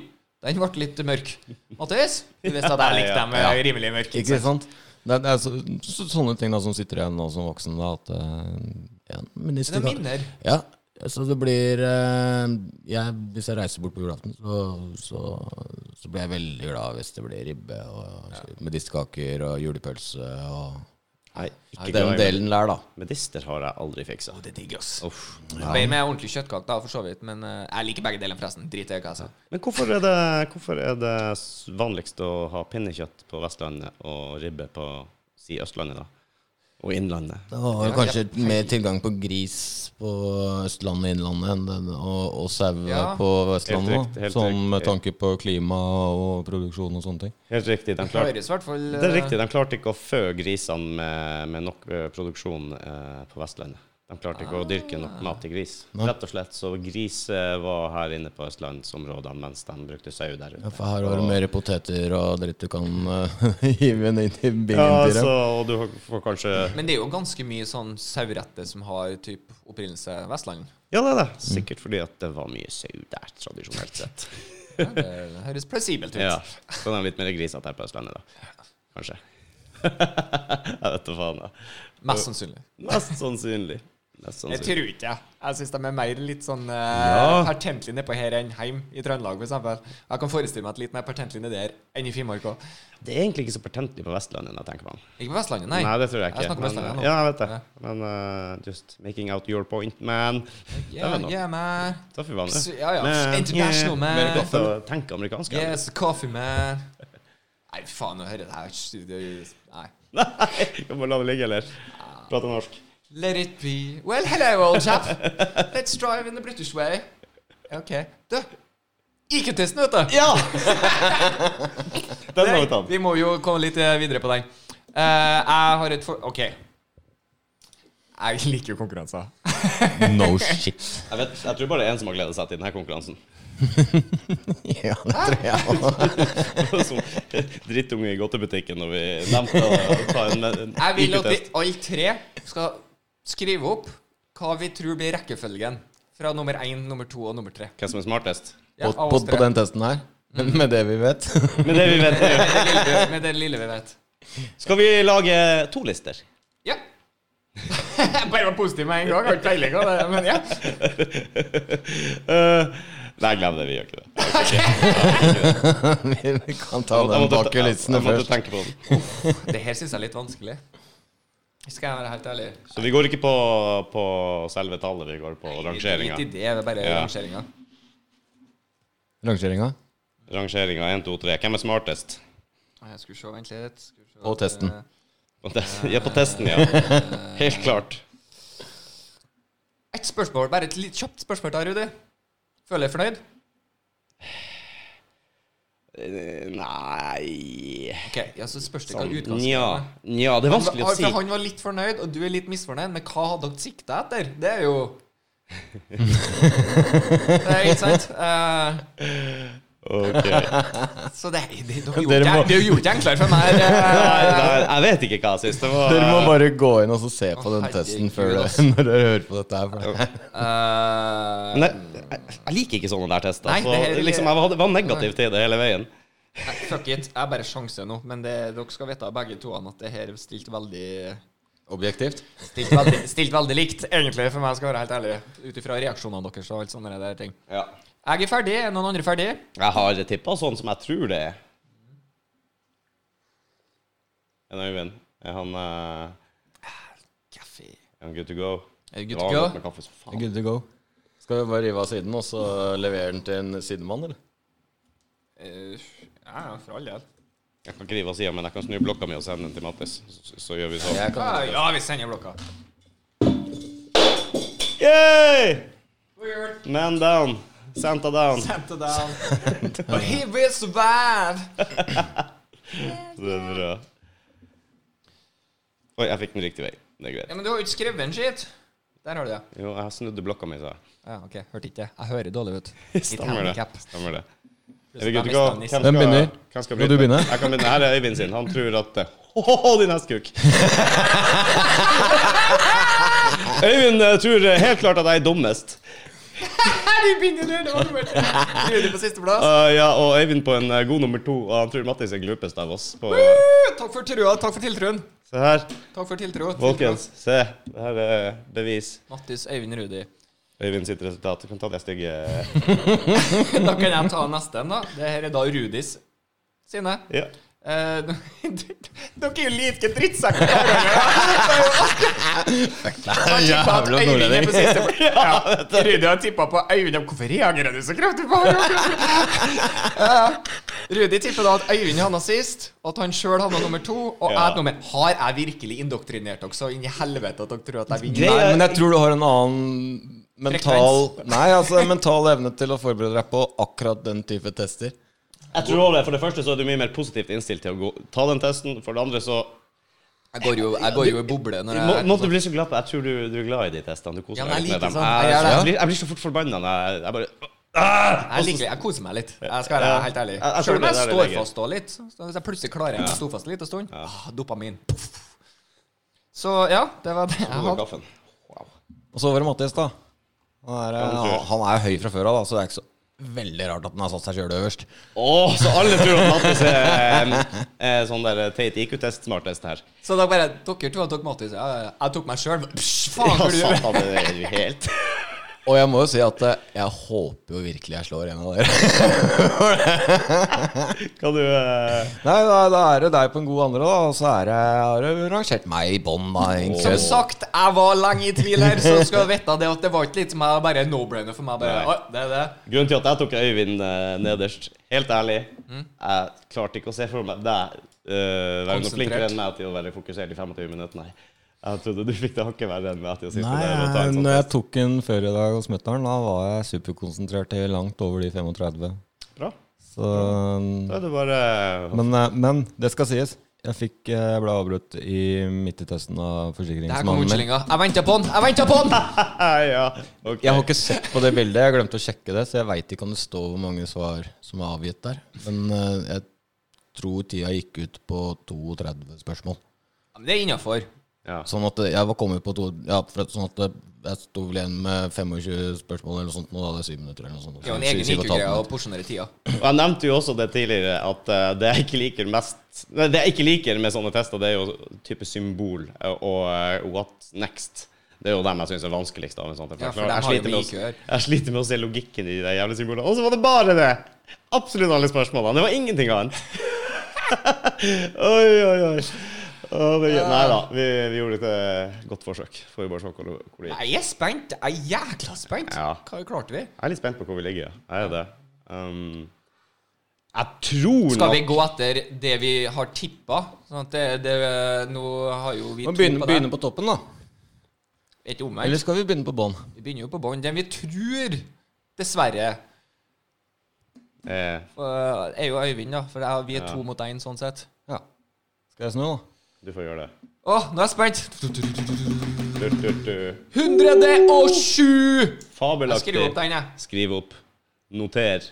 [SPEAKER 1] den ble litt mørk. Mathis, du visste at jeg likte dem eh, rimelig mørke.
[SPEAKER 2] Ikke sant? Det er, det er så, så, sånne ting da som sitter igjen nå som voksen. da At eh, ja, men hvis
[SPEAKER 1] Det er
[SPEAKER 2] de kan-
[SPEAKER 1] minner.
[SPEAKER 2] Ja, så det blir eh, jeg, Hvis jeg reiser bort på julaften, så, så, så blir jeg veldig glad hvis det blir ribbe og medisterkaker og julepølse og
[SPEAKER 3] Nei,
[SPEAKER 2] Nei, Den delen der, da.
[SPEAKER 3] Medister har jeg aldri fiksa.
[SPEAKER 1] Det er digg, ass.
[SPEAKER 3] Uff.
[SPEAKER 1] Bedre med ordentlig kjøttkake, da, for så vidt. Men eh, jeg liker begge deler, forresten. Drit i hva jeg sa.
[SPEAKER 3] Men hvorfor er, det, hvorfor er det s- vanligst å ha pinnekjøtt på Vestlandet og ribbe på si Østlandet, da? Og Innlandet.
[SPEAKER 2] Det var kanskje mer tilgang på gris på Østlandet og Innlandet enn den, og, og sau
[SPEAKER 1] Ja.
[SPEAKER 2] på Vestlandet.
[SPEAKER 3] Helt
[SPEAKER 2] da,
[SPEAKER 3] riktig, helt
[SPEAKER 2] sånn med
[SPEAKER 3] riktig.
[SPEAKER 2] tanke på klima og produksjon og sånne ting.
[SPEAKER 3] Helt riktig. De klarte,
[SPEAKER 1] Høres i hvert fall
[SPEAKER 3] det er riktig, de klarte ikke å fø grisene med, med nok eh, produksjon eh, på Vestlandet. De klarte ikke å dyrke nok mat til gris.
[SPEAKER 2] Nei.
[SPEAKER 3] Rett og slett. Så gris eh, var her inne på østlandsområdene mens de brukte sau der
[SPEAKER 2] Ja,
[SPEAKER 3] ute.
[SPEAKER 2] for her har du mer poteter og dritt du kan eh, hive ned i bingen
[SPEAKER 3] Ja, altså.
[SPEAKER 2] til
[SPEAKER 3] så,
[SPEAKER 2] dem.
[SPEAKER 3] og du får kanskje
[SPEAKER 1] eh, Men det er jo ganske mye sånn saueretter som har typ opprinnelse Vestland.
[SPEAKER 3] Ja, det er det. Sikkert fordi at det var mye sau der, tradisjonelt sett.
[SPEAKER 1] Ja, det høres plausibelt ut.
[SPEAKER 3] Ja, Så det er litt mer grisete her på Østlandet, da. Kanskje. Jeg vet da faen. jeg.
[SPEAKER 1] Mest sannsynlig.
[SPEAKER 3] Mest sannsynlig. Mest
[SPEAKER 1] Jeg
[SPEAKER 3] sannsynlig.
[SPEAKER 1] tror ikke det. Jeg syns de er mer litt sånn uh,
[SPEAKER 3] Ja.
[SPEAKER 1] pertentlige nedpå her enn heim i Trøndelag, for eksempel. Jeg kan forestille meg at litt mer pertentlig nedi der enn i Finnmark òg.
[SPEAKER 3] Det er egentlig ikke så pertentlig på Vestlandet, når jeg tenker meg om.
[SPEAKER 1] Ikke på Vestlandet, nei.
[SPEAKER 3] Nei, det tror jeg ikke.
[SPEAKER 1] Jeg snakker om
[SPEAKER 3] men,
[SPEAKER 1] Vestlandet nå.
[SPEAKER 3] ja, jeg vet det. Men eh, just making out your point, man. det
[SPEAKER 1] Yeah,
[SPEAKER 3] var noe.
[SPEAKER 1] yeah, man.
[SPEAKER 3] Tøff i vannet.
[SPEAKER 1] Ja, ja. International, man.
[SPEAKER 3] eh, Men godt å tenke amerikansk. ja.
[SPEAKER 1] Yes, coffee, man. Nei, fy faen, nå hører jeg det her det- Nei.
[SPEAKER 3] Nei, kan bare la det ligge, eller?
[SPEAKER 1] Ah.
[SPEAKER 3] Prate norsk.
[SPEAKER 1] Let it be Well, hello, old chap. Let's drive in the British way. OK. Du, IQ-testen, vet du.
[SPEAKER 3] Ja! Den har vi
[SPEAKER 1] Nei,
[SPEAKER 3] tatt.
[SPEAKER 1] vi må jo komme litt eh, videre på den. Eh, jeg har et for... OK. Jeg liker jo konkurranser.
[SPEAKER 2] No shit.
[SPEAKER 3] Jeg, vet, jeg tror bare det er en som har gledet seg til denne konkurransen.
[SPEAKER 2] Ja, det tror jeg også.
[SPEAKER 3] Som drittunge i godtebutikken når vi nevnte å ta en, en
[SPEAKER 1] Jeg vil at vi
[SPEAKER 3] IQ-test.
[SPEAKER 1] alle tre skal skrive opp hva vi tror blir rekkefølgen fra nummer én, nummer to og nummer tre.
[SPEAKER 3] Hvem som er smartest?
[SPEAKER 2] på,
[SPEAKER 1] Ja, av
[SPEAKER 2] på,
[SPEAKER 1] oss
[SPEAKER 2] på
[SPEAKER 1] tre.
[SPEAKER 2] den testen her. Med det vi vet.
[SPEAKER 3] Men det vi vet er jo
[SPEAKER 1] Med det lille- Med det lille vi vet.
[SPEAKER 3] Skal vi lage to lister?
[SPEAKER 1] Ja. Bare var positiv med en gang. Har ikke peiling på det, men ja.
[SPEAKER 3] Eh, nei, glem det. Vi gjør ikke det.
[SPEAKER 2] vi kan ta den bak kulissene
[SPEAKER 3] jeg måtte
[SPEAKER 2] først.
[SPEAKER 3] tenke på den.
[SPEAKER 1] Det her syns jeg er litt vanskelig. Skal jeg være helt ærlig?
[SPEAKER 3] Så vi går ikke på, på selve tallet, vi går på rangeringa.
[SPEAKER 1] Litt i det, bare
[SPEAKER 3] Ja.
[SPEAKER 1] rangeringa.
[SPEAKER 2] Rangeringa
[SPEAKER 3] Rangeringa 1, 2, 3. Hvem er smartest?
[SPEAKER 1] Jeg skulle se, vent litt. Skulle se
[SPEAKER 2] Og
[SPEAKER 1] at,
[SPEAKER 2] testen.
[SPEAKER 1] eh,
[SPEAKER 3] På tes- Ja, på testen, ja. Helt klart.
[SPEAKER 1] Ett spørsmål, bare et litt kjapt spørsmål til Rudi. Føler jeg fornøyd?
[SPEAKER 3] Eh, Nei
[SPEAKER 1] Ok, ja, så spørs det hva
[SPEAKER 3] Sånn.
[SPEAKER 1] utgangspunktet
[SPEAKER 3] Nja, nja, det er vanskelig å
[SPEAKER 1] Han-
[SPEAKER 3] si.
[SPEAKER 1] for Han var litt fornøyd, og du er litt misfornøyd, men hva hadde dere sikta etter? Det er jo Det er ikke sant? Eh,
[SPEAKER 3] Ok.
[SPEAKER 1] så det, det, dere gjorde
[SPEAKER 2] Dere
[SPEAKER 1] det,
[SPEAKER 2] må-
[SPEAKER 1] det gjorde det enklere for meg.
[SPEAKER 3] Nei,
[SPEAKER 1] eh.
[SPEAKER 3] nei, jeg vet ikke hva jeg syns. Det var
[SPEAKER 2] Dere må bare gå inn og så se på
[SPEAKER 1] Å,
[SPEAKER 2] den testen før
[SPEAKER 1] herregud, ass.
[SPEAKER 2] dere, når dere hører på dette her. For det.
[SPEAKER 1] Eh,
[SPEAKER 3] Men jeg, jeg, jeg liker ikke sånne der tester.
[SPEAKER 1] Nei,
[SPEAKER 3] så
[SPEAKER 1] det her er-
[SPEAKER 3] liksom, jeg var, var negativ til det hele veien.
[SPEAKER 1] nei, fuck it. Jeg bare sjanser nå, men det, dere skal vite begge to at det her er stilt veldig
[SPEAKER 2] Objektivt.
[SPEAKER 1] Stilt veldig, stilt veldig likt, egentlig, for meg, skal jeg være helt ærlig. Ut ifra reaksjonene deres og alt sånne der ting.
[SPEAKER 3] Ja.
[SPEAKER 1] Jeg er ferdig. Er noen andre ferdig?
[SPEAKER 3] Jeg har tippa sånn som jeg tror det er. En Øyvind. Er han, eh,
[SPEAKER 1] Kaffe.
[SPEAKER 3] er han good to go?
[SPEAKER 1] Er du good
[SPEAKER 3] Det
[SPEAKER 1] to
[SPEAKER 3] var
[SPEAKER 1] go?
[SPEAKER 3] godt Med kaffe, så faen.
[SPEAKER 2] Good to go. Skal vi bare rive av siden og så levere den til en sidemann, eller?
[SPEAKER 1] Eh, ja, for all del.
[SPEAKER 3] Jeg kan ikke rive av sida, men jeg kan snu blokka mi og sende den til Mattis. Så, så gjør vi sånn.
[SPEAKER 2] Jeg kan.
[SPEAKER 1] Ja, ja, vi sender blokka.
[SPEAKER 3] Yay!
[SPEAKER 1] Weird.
[SPEAKER 3] Man down. Santa down.
[SPEAKER 1] Sent down. Og he will survive.
[SPEAKER 3] Det er bra. Oi, jeg fikk den riktig vei. Det er
[SPEAKER 1] Ja,
[SPEAKER 3] greit.
[SPEAKER 1] men du har jo ikke skrevet en skitt. Der har du det.
[SPEAKER 3] Jo, jeg snudde blokka mi, sa jeg.
[SPEAKER 1] Ja, ok, Hørte ikke. Jeg hører dårlig ut.
[SPEAKER 3] Stemmer det. Stemmer det. Er vi
[SPEAKER 1] Jeg
[SPEAKER 3] good to go?
[SPEAKER 1] mistet nissen.
[SPEAKER 3] Hvem skal-
[SPEAKER 2] begynner?
[SPEAKER 3] Hvem skal
[SPEAKER 2] Må du
[SPEAKER 3] bryte?
[SPEAKER 2] begynne?
[SPEAKER 3] Jeg kan begynne. Her er Øyvind sin. Han tror at det- Åh, din hestkuk! Øyvind eh, tror eh, helt klart at jeg er dummest.
[SPEAKER 1] Du begynner nå, det var nummer tre. Rudi på siste plass.
[SPEAKER 3] Eh, ja, og Øyvind på en eh, god nummer to, og han tror Mattis er glupest av oss. På,
[SPEAKER 1] Uh, Takk for trua. Takk for tiltroen.
[SPEAKER 3] se her,
[SPEAKER 1] Takk for tiltro.
[SPEAKER 3] folkens. Se. Det her er bevis.
[SPEAKER 1] Mattis, Øyvind, Rudi.
[SPEAKER 3] Øyvind sitt resultat. Du kan ta det stygge
[SPEAKER 1] Da kan jeg ta neste en, da. Det her er da Rudis sine.
[SPEAKER 3] ja.
[SPEAKER 1] Eh, Dere er jo like drittsekker. Jævla
[SPEAKER 2] Jævla nordlending.
[SPEAKER 1] Rudi har tippa på Øyvind. Hvorfor reagerer du så kraftig på det? Eh, Rudi tipper da at Øyvind havna sist, og at han sjøl havna nummer to. Og
[SPEAKER 3] Ja.
[SPEAKER 1] jeg nummer Har jeg virkelig indoktrinert dere så inn i helvete at dere tror at jeg vinner?
[SPEAKER 2] Nei, men jeg tror du har en annen mental Nei, altså en mental evne til å forberede deg på akkurat den type tester.
[SPEAKER 3] Jeg tror også det. For det første så er du mye mer positivt innstilt til å gå, ta den testen. For det andre så
[SPEAKER 1] Jeg går jo, jeg går jo i boble når
[SPEAKER 3] må,
[SPEAKER 1] jeg
[SPEAKER 3] Måtte du bli så glad på Jeg tror du, du er glad i de testene. Du koser
[SPEAKER 1] Ja, men
[SPEAKER 3] deg
[SPEAKER 1] jeg liker
[SPEAKER 3] litt med dem.
[SPEAKER 1] sånn. Jeg
[SPEAKER 3] Jeg,
[SPEAKER 1] gjør det.
[SPEAKER 3] jeg, blir, jeg blir så fort forbanna når jeg, jeg bare
[SPEAKER 1] Jeg liker Jeg koser meg litt. Jeg skal være
[SPEAKER 3] altså- Ja.
[SPEAKER 1] helt ærlig.
[SPEAKER 3] Jeg- jeg tror
[SPEAKER 1] Selv om
[SPEAKER 3] det
[SPEAKER 1] jeg
[SPEAKER 3] der er
[SPEAKER 1] står
[SPEAKER 3] legit.
[SPEAKER 1] fast og litt. Så hvis jeg plutselig klarer jeg å stå fast en liten stund ah, Dopamin. Puff. Så ja, det var det jeg
[SPEAKER 3] Hvor er
[SPEAKER 1] hadde.
[SPEAKER 3] kaffen? Wow.
[SPEAKER 2] Og så var det Mattis, da. Han er,
[SPEAKER 3] tror jeg.
[SPEAKER 2] han er høy fra før av, da, så det er ikke så veldig rart at han har satt seg sjøl øverst.
[SPEAKER 3] Åh, så alle tror at Mattis er, er sånn der teit IQ-test, smartest her.
[SPEAKER 1] Så da bare Dere to tok Mattis. Ja, ja, ja. jeg tok meg sjøl. Faen,
[SPEAKER 3] Ja,
[SPEAKER 1] hvor du
[SPEAKER 3] satan, det er jo helt
[SPEAKER 2] Og jeg må jo si at eh, jeg håper jo virkelig jeg slår en av dere.
[SPEAKER 3] Kan du eh,
[SPEAKER 2] Nei, da, da er det deg på en god andre, da. Og så er det, har du rangert meg i bånn, da. en
[SPEAKER 1] Som
[SPEAKER 2] kødd.
[SPEAKER 1] sagt, jeg var lenge i tvil her, så skal du vite det at det var ikke litt som jeg bare no-brainer for meg. Bare,
[SPEAKER 3] Nei.
[SPEAKER 1] «Oi, det er det.
[SPEAKER 3] Grunnen til at jeg tok Øyvind eh, nederst, helt ærlig
[SPEAKER 1] Mm.
[SPEAKER 3] Jeg klarte ikke å se for meg deg eh, være noe
[SPEAKER 1] Konsentrert.
[SPEAKER 3] flinkere enn meg til å være fokusert i 25 minutter, nei. Jeg trodde du fikk det hakket verre enn meg til å sitte
[SPEAKER 2] Nei,
[SPEAKER 3] der og ta
[SPEAKER 2] jeg,
[SPEAKER 3] en sånn
[SPEAKER 2] når jeg
[SPEAKER 3] test.
[SPEAKER 2] tok en før i dag hos mutter'n, da var jeg superkonsentrert til langt over de 35.
[SPEAKER 3] sånn- Bra.
[SPEAKER 2] Så
[SPEAKER 3] Da er det bare
[SPEAKER 2] Men, eh, men det skal sies. Jeg fikk eh, Jeg ble avbrutt i midt i testen av
[SPEAKER 1] Det her kom
[SPEAKER 2] forsikringsmannen min.
[SPEAKER 1] unnskyldninga. Jeg venta på den! Jeg venta på den!
[SPEAKER 3] Ja, ok.
[SPEAKER 2] Jeg har ikke sett på det bildet. Jeg glemte å sjekke det, så jeg veit ikke om det står hvor mange svar som er avgitt der. Men eh, jeg tror tida gikk ut på 32 spørsmål.
[SPEAKER 1] Ja, men Det er innafor.
[SPEAKER 3] Ja.
[SPEAKER 2] Sånn at jeg var kommet på to Ja, for at, sånn at jeg sto vel igjen med 25 spørsmål eller noe sånt, og da hadde jeg 7 minutter eller noe sånt.
[SPEAKER 1] Det er jo en
[SPEAKER 2] Syv-
[SPEAKER 1] egen
[SPEAKER 2] syv og et halvt
[SPEAKER 1] IQ-greie å
[SPEAKER 2] minutt.
[SPEAKER 1] porsjonere tida.
[SPEAKER 3] Og jeg nevnte jo også det tidligere, at eh, det jeg ikke liker mest Nei, det jeg ikke liker med sånne tester, det er jo type symbol eh, og eh, what next. Det er jo dem jeg syns er vanskeligst av en sånn test.
[SPEAKER 1] Ja, for dem
[SPEAKER 3] Jeg
[SPEAKER 1] har jo
[SPEAKER 3] sliter
[SPEAKER 1] med
[SPEAKER 3] å-
[SPEAKER 1] IQ her.
[SPEAKER 3] Jeg sliter med å se logikken i de jævla symbolene. Og så var det bare det! Absolutt alle spørsmålene. Det var ingenting annet. oi, oi, oi. Å, det, nei da, vi, vi gjorde et eh, godt forsøk. Får vi bare se hvor, hvor det gikk.
[SPEAKER 1] Jeg er spent. Jeg er jækla spent.
[SPEAKER 3] Ja.
[SPEAKER 1] Hva klarte vi?
[SPEAKER 3] Jeg er litt spent på hvor vi ligger. ja. Jeg er det. Um, Jeg tror
[SPEAKER 1] Skal vi
[SPEAKER 3] nok
[SPEAKER 1] gå etter det vi har tippa? Sånn at det, det, nå har jo vi
[SPEAKER 2] Vi begynner,
[SPEAKER 1] på det.
[SPEAKER 2] begynner på toppen, da.
[SPEAKER 1] Ikke omvendt.
[SPEAKER 2] Eller skal vi begynne på bånn?
[SPEAKER 1] Vi begynner jo på bånn. Den vi tror, dessverre,
[SPEAKER 3] eh,
[SPEAKER 1] øh, er jo Øyvind, da. For jeg- vi er to mot én, sånn sett.
[SPEAKER 2] Ja. Skal jeg snu, da?
[SPEAKER 3] Du får gjøre det.
[SPEAKER 1] Å, nå er jeg spent!
[SPEAKER 3] Du, du, du.
[SPEAKER 1] 107! Jeg
[SPEAKER 3] Fabelaktig.
[SPEAKER 1] skriver opp den, jeg.
[SPEAKER 3] Skriv opp. Noter.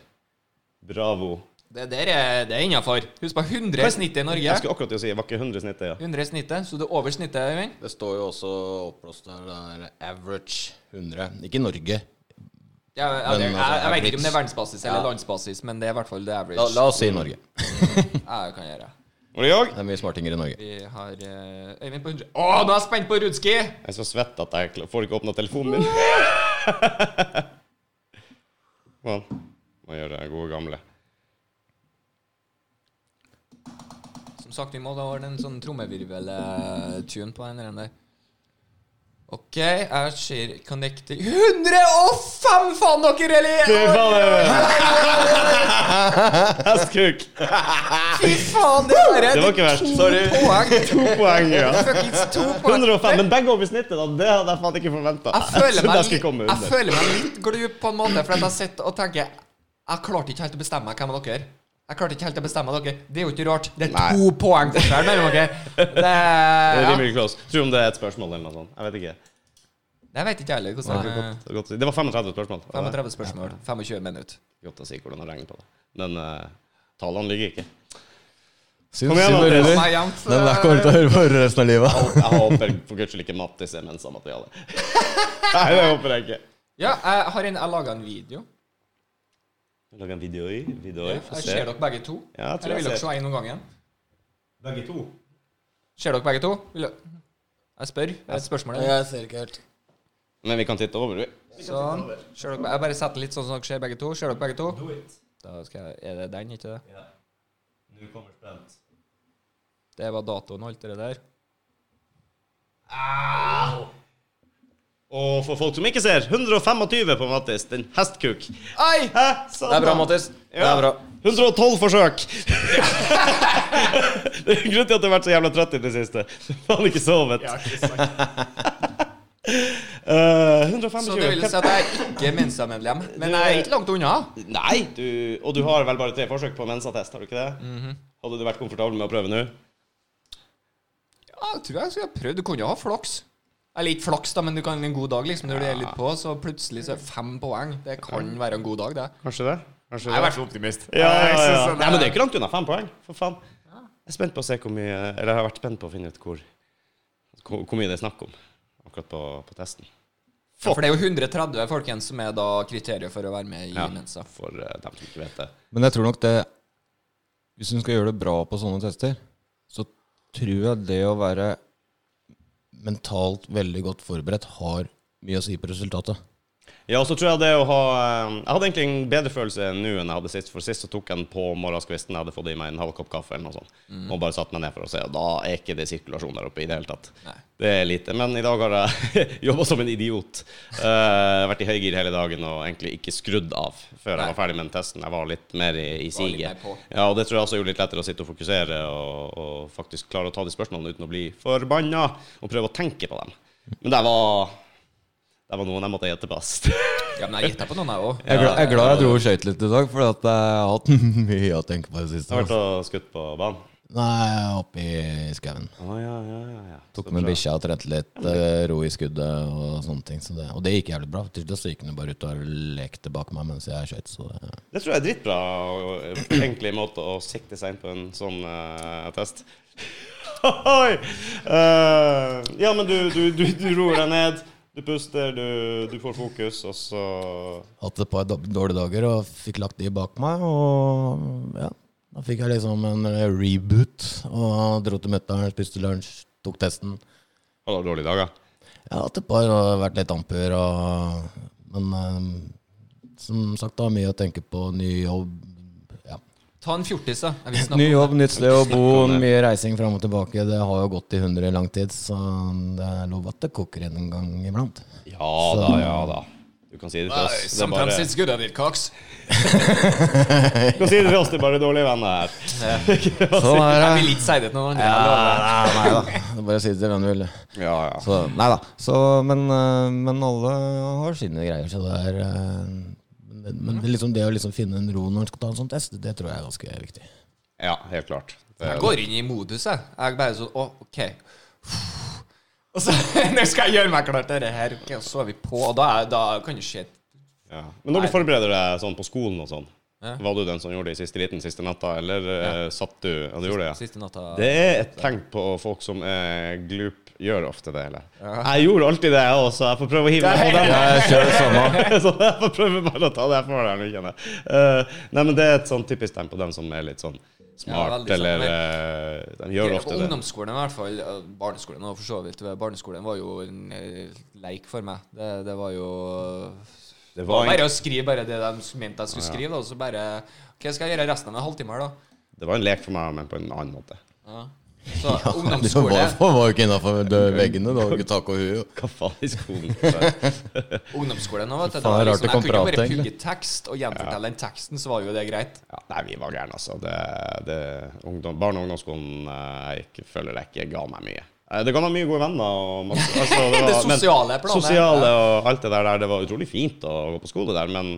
[SPEAKER 3] Bravo.
[SPEAKER 1] Det der er, det er innafor. Husk på 100 er snittet i
[SPEAKER 3] Jeg
[SPEAKER 1] Norge.
[SPEAKER 3] skulle akkurat til å si var ikke 100 snittet, ja.
[SPEAKER 1] 100 er snittet, så det er over snittet, Øyvind.
[SPEAKER 2] Det står jo også oppblåst der, der average 100. Ikke i Norge.
[SPEAKER 1] Ja, ja, det,
[SPEAKER 2] Men,
[SPEAKER 1] jeg,
[SPEAKER 2] altså,
[SPEAKER 1] jeg vet ikke om det er
[SPEAKER 2] average.
[SPEAKER 1] verdensbasis eller landsbasis, men det er i hvert fall the
[SPEAKER 2] La,
[SPEAKER 1] average.
[SPEAKER 2] la oss si Norge.
[SPEAKER 1] Ja, det kan jeg gjøre.
[SPEAKER 3] Var det jeg?
[SPEAKER 2] Det er mye smartinger i Norge.
[SPEAKER 1] Vi har eh, Øyvind på 100. Å, nå er jeg spent på Rudski!
[SPEAKER 3] Jeg er så svett at jeg kla- får ikke åpna telefonen min. Sånn. Må gjøre det gode gamle.
[SPEAKER 1] Som sagt, vi må da ordne en sånn trommevirvel-tune på den der. der. OK, jeg ser connecting 105, faen dere,
[SPEAKER 3] Fy
[SPEAKER 1] eller?
[SPEAKER 3] faen! Hestkuk!
[SPEAKER 1] Fy faen, det er bare
[SPEAKER 3] Det var ikke verst. Sorry.
[SPEAKER 1] poeng.
[SPEAKER 3] To poeng, ja.
[SPEAKER 1] Fuckings to poeng.
[SPEAKER 3] 105, men begge over snittet. da Det hadde jeg faen ikke forventa.
[SPEAKER 1] Jeg føler meg,
[SPEAKER 3] skulle komme
[SPEAKER 1] litt- jeg
[SPEAKER 3] under.
[SPEAKER 1] føler meg litt glup på en måte, for at jeg sitter og tenker Jeg klarte ikke helt å bestemme meg hvem av dere. Jeg klarte ikke helt å bestemme dere. Det er jo ikke rart. Det er
[SPEAKER 3] Nei.
[SPEAKER 1] to poeng forskjell mellom dere. Det,
[SPEAKER 3] Det er
[SPEAKER 1] ja.
[SPEAKER 3] rimelig close. Tror om det er et spørsmål eller noe sånt. Jeg vet ikke.
[SPEAKER 1] Jeg vet ikke heller hvordan det
[SPEAKER 3] Det, er godt, å si. det var 35 spørsmål.
[SPEAKER 1] 35 spørsmål, 25 minutter.
[SPEAKER 3] Godt å si hvordan å regne på det. Men eh, tallene ligger ikke.
[SPEAKER 2] Syns
[SPEAKER 3] Kom igjen,
[SPEAKER 2] synd,
[SPEAKER 3] Mattis.
[SPEAKER 2] Oliver.
[SPEAKER 1] Meg jevnt,
[SPEAKER 2] Den der
[SPEAKER 1] så-
[SPEAKER 2] kommer du til å høre på resten av livet.
[SPEAKER 3] Jeg håper for guds skyld ikke Mattis er mensa-materiale. Nei, det håper jeg ikke.
[SPEAKER 1] Ja, jeg har en, jeg laga en video.
[SPEAKER 3] Lag en video i. Video i. Få
[SPEAKER 1] Jeg
[SPEAKER 3] se.
[SPEAKER 1] ser dere begge to.
[SPEAKER 3] Ja, jeg tror
[SPEAKER 1] Eller vil
[SPEAKER 3] jeg
[SPEAKER 1] dere
[SPEAKER 3] ser.
[SPEAKER 1] se en om gangen?
[SPEAKER 3] Begge to.
[SPEAKER 1] Ser dere begge to? Vil dere- jeg spør. Det er et spørsmål. her.
[SPEAKER 2] Jeg ser ikke helt.
[SPEAKER 3] Men vi kan titte over, vi.
[SPEAKER 1] Sånn. Ser dere, jeg bare setter litt sånn som dere ser begge to. Ser dere begge to? Da skal jeg, er det den, ikke det?
[SPEAKER 3] Nå kommer spent.
[SPEAKER 1] Det var datoen og alt det der.
[SPEAKER 3] Og for folk som ikke ser, 125 på Mattis. Den hestkuk.
[SPEAKER 1] Ai!
[SPEAKER 3] Hæ? Sånn,
[SPEAKER 2] Det er bra, Mattis. Det er bra.
[SPEAKER 3] 112 forsøk. det er grunnen til at jeg har vært så jævla trøtt i det siste. Faen ikke sovet. Eh, 125
[SPEAKER 1] Så det vil si at jeg er ikke Mensa-medlem. Men jeg er ikke langt unna.
[SPEAKER 3] Nei, du, og du har vel bare tre forsøk på mensatest, har du ikke det? Hadde du vært komfortabel med å prøve nå?
[SPEAKER 1] Ja, jeg tror jeg skulle ha prøvd. Du kan jo ha flaks. Eller ikke flaks, da, men du kan ha en god dag, liksom. Når du er litt på, så plutselig så er fem poeng. Det kan være en god dag, det.
[SPEAKER 3] Kanskje det? Kanskje
[SPEAKER 1] Jeg er i hvert fall optimist.
[SPEAKER 3] Ja, ja,
[SPEAKER 1] Jeg
[SPEAKER 3] ja.
[SPEAKER 1] synes
[SPEAKER 3] Nei, men det er ikke langt unna fem poeng, for faen. Jeg er spent på å se hvor mye Eller jeg har vært spent på å finne ut hvor, hvor, hvor mye det er snakk om akkurat på, på testen.
[SPEAKER 1] Ja, For det er jo 130 folkens som er da kriteriet for å være med i
[SPEAKER 3] Ja.
[SPEAKER 1] Mensa.
[SPEAKER 3] For eh, dem som ikke vet det.
[SPEAKER 2] Men jeg tror nok det Hvis hun skal gjøre det bra på sånne tester, så tror jeg det å være mentalt veldig godt forberedt har mye å si på resultatet.
[SPEAKER 3] Ja, og så tror jeg det å ha eh, Jeg hadde egentlig en bedre følelse nå enn jeg hadde sist, for sist så tok jeg den på morgenskvisten. Jeg hadde fått i meg en halv kopp kaffe eller noe sånt.
[SPEAKER 1] Mm.
[SPEAKER 3] Og bare satt meg ned for å se. Og da er ikke det sirkulasjon der oppe i det hele tatt.
[SPEAKER 1] Nei.
[SPEAKER 3] Det er lite. Men i dag har jeg jobba som en idiot. Eh, vært i høygir hele dagen og egentlig ikke skrudd av før
[SPEAKER 1] Nei.
[SPEAKER 3] jeg var ferdig med den testen. Jeg var litt mer i, i
[SPEAKER 1] Var litt mer
[SPEAKER 3] siget.
[SPEAKER 1] på.
[SPEAKER 3] Ja, og det tror jeg også gjorde litt lettere å sitte og fokusere og, og faktisk klare å ta de spørsmålene uten å bli forbanna, og prøve å tenke på dem. Men det var det var noen jeg måtte gjette best.
[SPEAKER 1] Ja, men jeg gjetter på noen, jeg òg.
[SPEAKER 2] Jeg er glad jeg, er glad jeg dro og skøyt litt i dag, for at jeg har hatt mye å tenke på i det
[SPEAKER 3] Jeg har vært
[SPEAKER 2] siste.
[SPEAKER 3] og skutt på banen.
[SPEAKER 2] Nei, jeg er oppe i skauen.
[SPEAKER 3] Å, ja, ja, ja, ja.
[SPEAKER 2] Tok med bikkja og trente litt, eh, ro i skuddet og sånne ting. Så det, og det gikk jævlig bra. Til slutt så gikk hun bare ut og lekte bak meg mens jeg skøyt, så det
[SPEAKER 3] Det tror jeg er dritbra og- og egentlig måte å sikte seg inn på en sånn eh, test. Oi! Eh, ja, men du, du, du, du roer deg ned, du puster, du, du får fokus, og så
[SPEAKER 2] hatt et par da- dårlige dager og fikk lagt de bak meg. Og ja, da fikk jeg liksom en eh, reboot. Og dro til mutter'n, spiste lunsj, tok testen.
[SPEAKER 3] Har du dårlige dager?
[SPEAKER 2] Jeg har hatt et par og vært litt amper. Og, men eh, som sagt, da, mye å tenke på. Ny jobb. Ja.
[SPEAKER 1] Ta en fjortis, da. Jeg vil
[SPEAKER 2] Ny
[SPEAKER 1] snakke om
[SPEAKER 2] jobb, nytt sted å bo,
[SPEAKER 3] om det.
[SPEAKER 2] mye reising fram og tilbake. Det har jo gått i hundre i lang tid, så det er lov at det koker en gang iblant.
[SPEAKER 3] Ja da, ja da. Du kan si det til oss. Det er
[SPEAKER 1] Sometimes
[SPEAKER 3] bare,
[SPEAKER 1] it's good at it cocks.
[SPEAKER 3] du kan si det til oss, det er bare dårlige venner her.
[SPEAKER 2] Sånn er
[SPEAKER 1] Jeg blir
[SPEAKER 2] det.
[SPEAKER 1] litt seidet nå. men
[SPEAKER 2] Ja,
[SPEAKER 1] jeg lover.
[SPEAKER 2] nei, nei da. Det er Bare si det til hvem du vil.
[SPEAKER 3] Ja, ja.
[SPEAKER 2] Så, nei da. Så, men, eh, men alle har sine greier, så det er eh, Men, men det, er liksom, det å liksom finne en ro når en skal ta en sånn test, det tror jeg er ganske viktig.
[SPEAKER 3] ja helt klart. Det,
[SPEAKER 1] Jeg går inn i modus, jeg. Jeg bare sånn Å, OK. Og så Nå skal jeg gjøre meg klar til det her. Ok, og så er vi på, og da, er, da kan det skje
[SPEAKER 3] ja. Men når du forbereder deg sånn på skolen og sånn, var du den som gjorde det i siste liten siste natta, eller eh, satt du Ja, du gjorde det, ja.
[SPEAKER 1] siste natta.
[SPEAKER 3] Det er et tegn på folk som er glup, gjør ofte det. Eller? Jeg gjorde alltid det, jeg også. Jeg får prøve å hive meg på den.
[SPEAKER 2] Jeg kjører det samme.
[SPEAKER 3] Så jeg får prøve bare å ta det jeg får der. nå, kjenner jeg. Eh, nei, men det er et sånn typisk tegn på dem som er litt sånn
[SPEAKER 1] Ja,
[SPEAKER 3] smart,
[SPEAKER 1] veldig sånn,
[SPEAKER 3] eller eh, De gjør
[SPEAKER 1] på
[SPEAKER 3] ofte det.
[SPEAKER 1] ungdomsskolen i hvert fall. eh, Barneskolen og for så vidt. Barneskolen var jo en eh, leik for meg. Det, det var jo
[SPEAKER 3] Det
[SPEAKER 1] det
[SPEAKER 3] var
[SPEAKER 1] var
[SPEAKER 3] en-
[SPEAKER 1] bare å skrive bare det de mente jeg skulle skrive, da, og så bare OK, skal jeg gjøre resten av en halvtime her, da?
[SPEAKER 3] Det var en lek for meg, men på en annen måte.
[SPEAKER 1] Ja. Så
[SPEAKER 2] Du
[SPEAKER 1] ungdomsskole,
[SPEAKER 2] var, var jo ikke innafor veggene. Det var ikke tak og hue.
[SPEAKER 3] Hva faen i skolen? Så,
[SPEAKER 1] ungdomsskolen nå, vet du.
[SPEAKER 2] Faen,
[SPEAKER 1] Det var
[SPEAKER 2] det er rart
[SPEAKER 1] liksom,
[SPEAKER 2] det
[SPEAKER 1] jeg
[SPEAKER 2] kom
[SPEAKER 1] kunne jo
[SPEAKER 2] prat,
[SPEAKER 1] bare
[SPEAKER 2] egentlig.
[SPEAKER 1] pugge tekst og gjenfortelle den teksten, så var jo det greit.
[SPEAKER 3] ja, nei, vi var gærne, altså. Det, det, ungdom, barne- og ungdomsskolen eh, jeg gikk, føler jeg ikke ga meg mye. Eh, Det ga meg mye gode venner. Og masse, altså, det,
[SPEAKER 1] Det
[SPEAKER 3] var- men-
[SPEAKER 1] sosiale planet.
[SPEAKER 3] Sosiale og alt det der, der. Det var utrolig fint å gå på skole der, men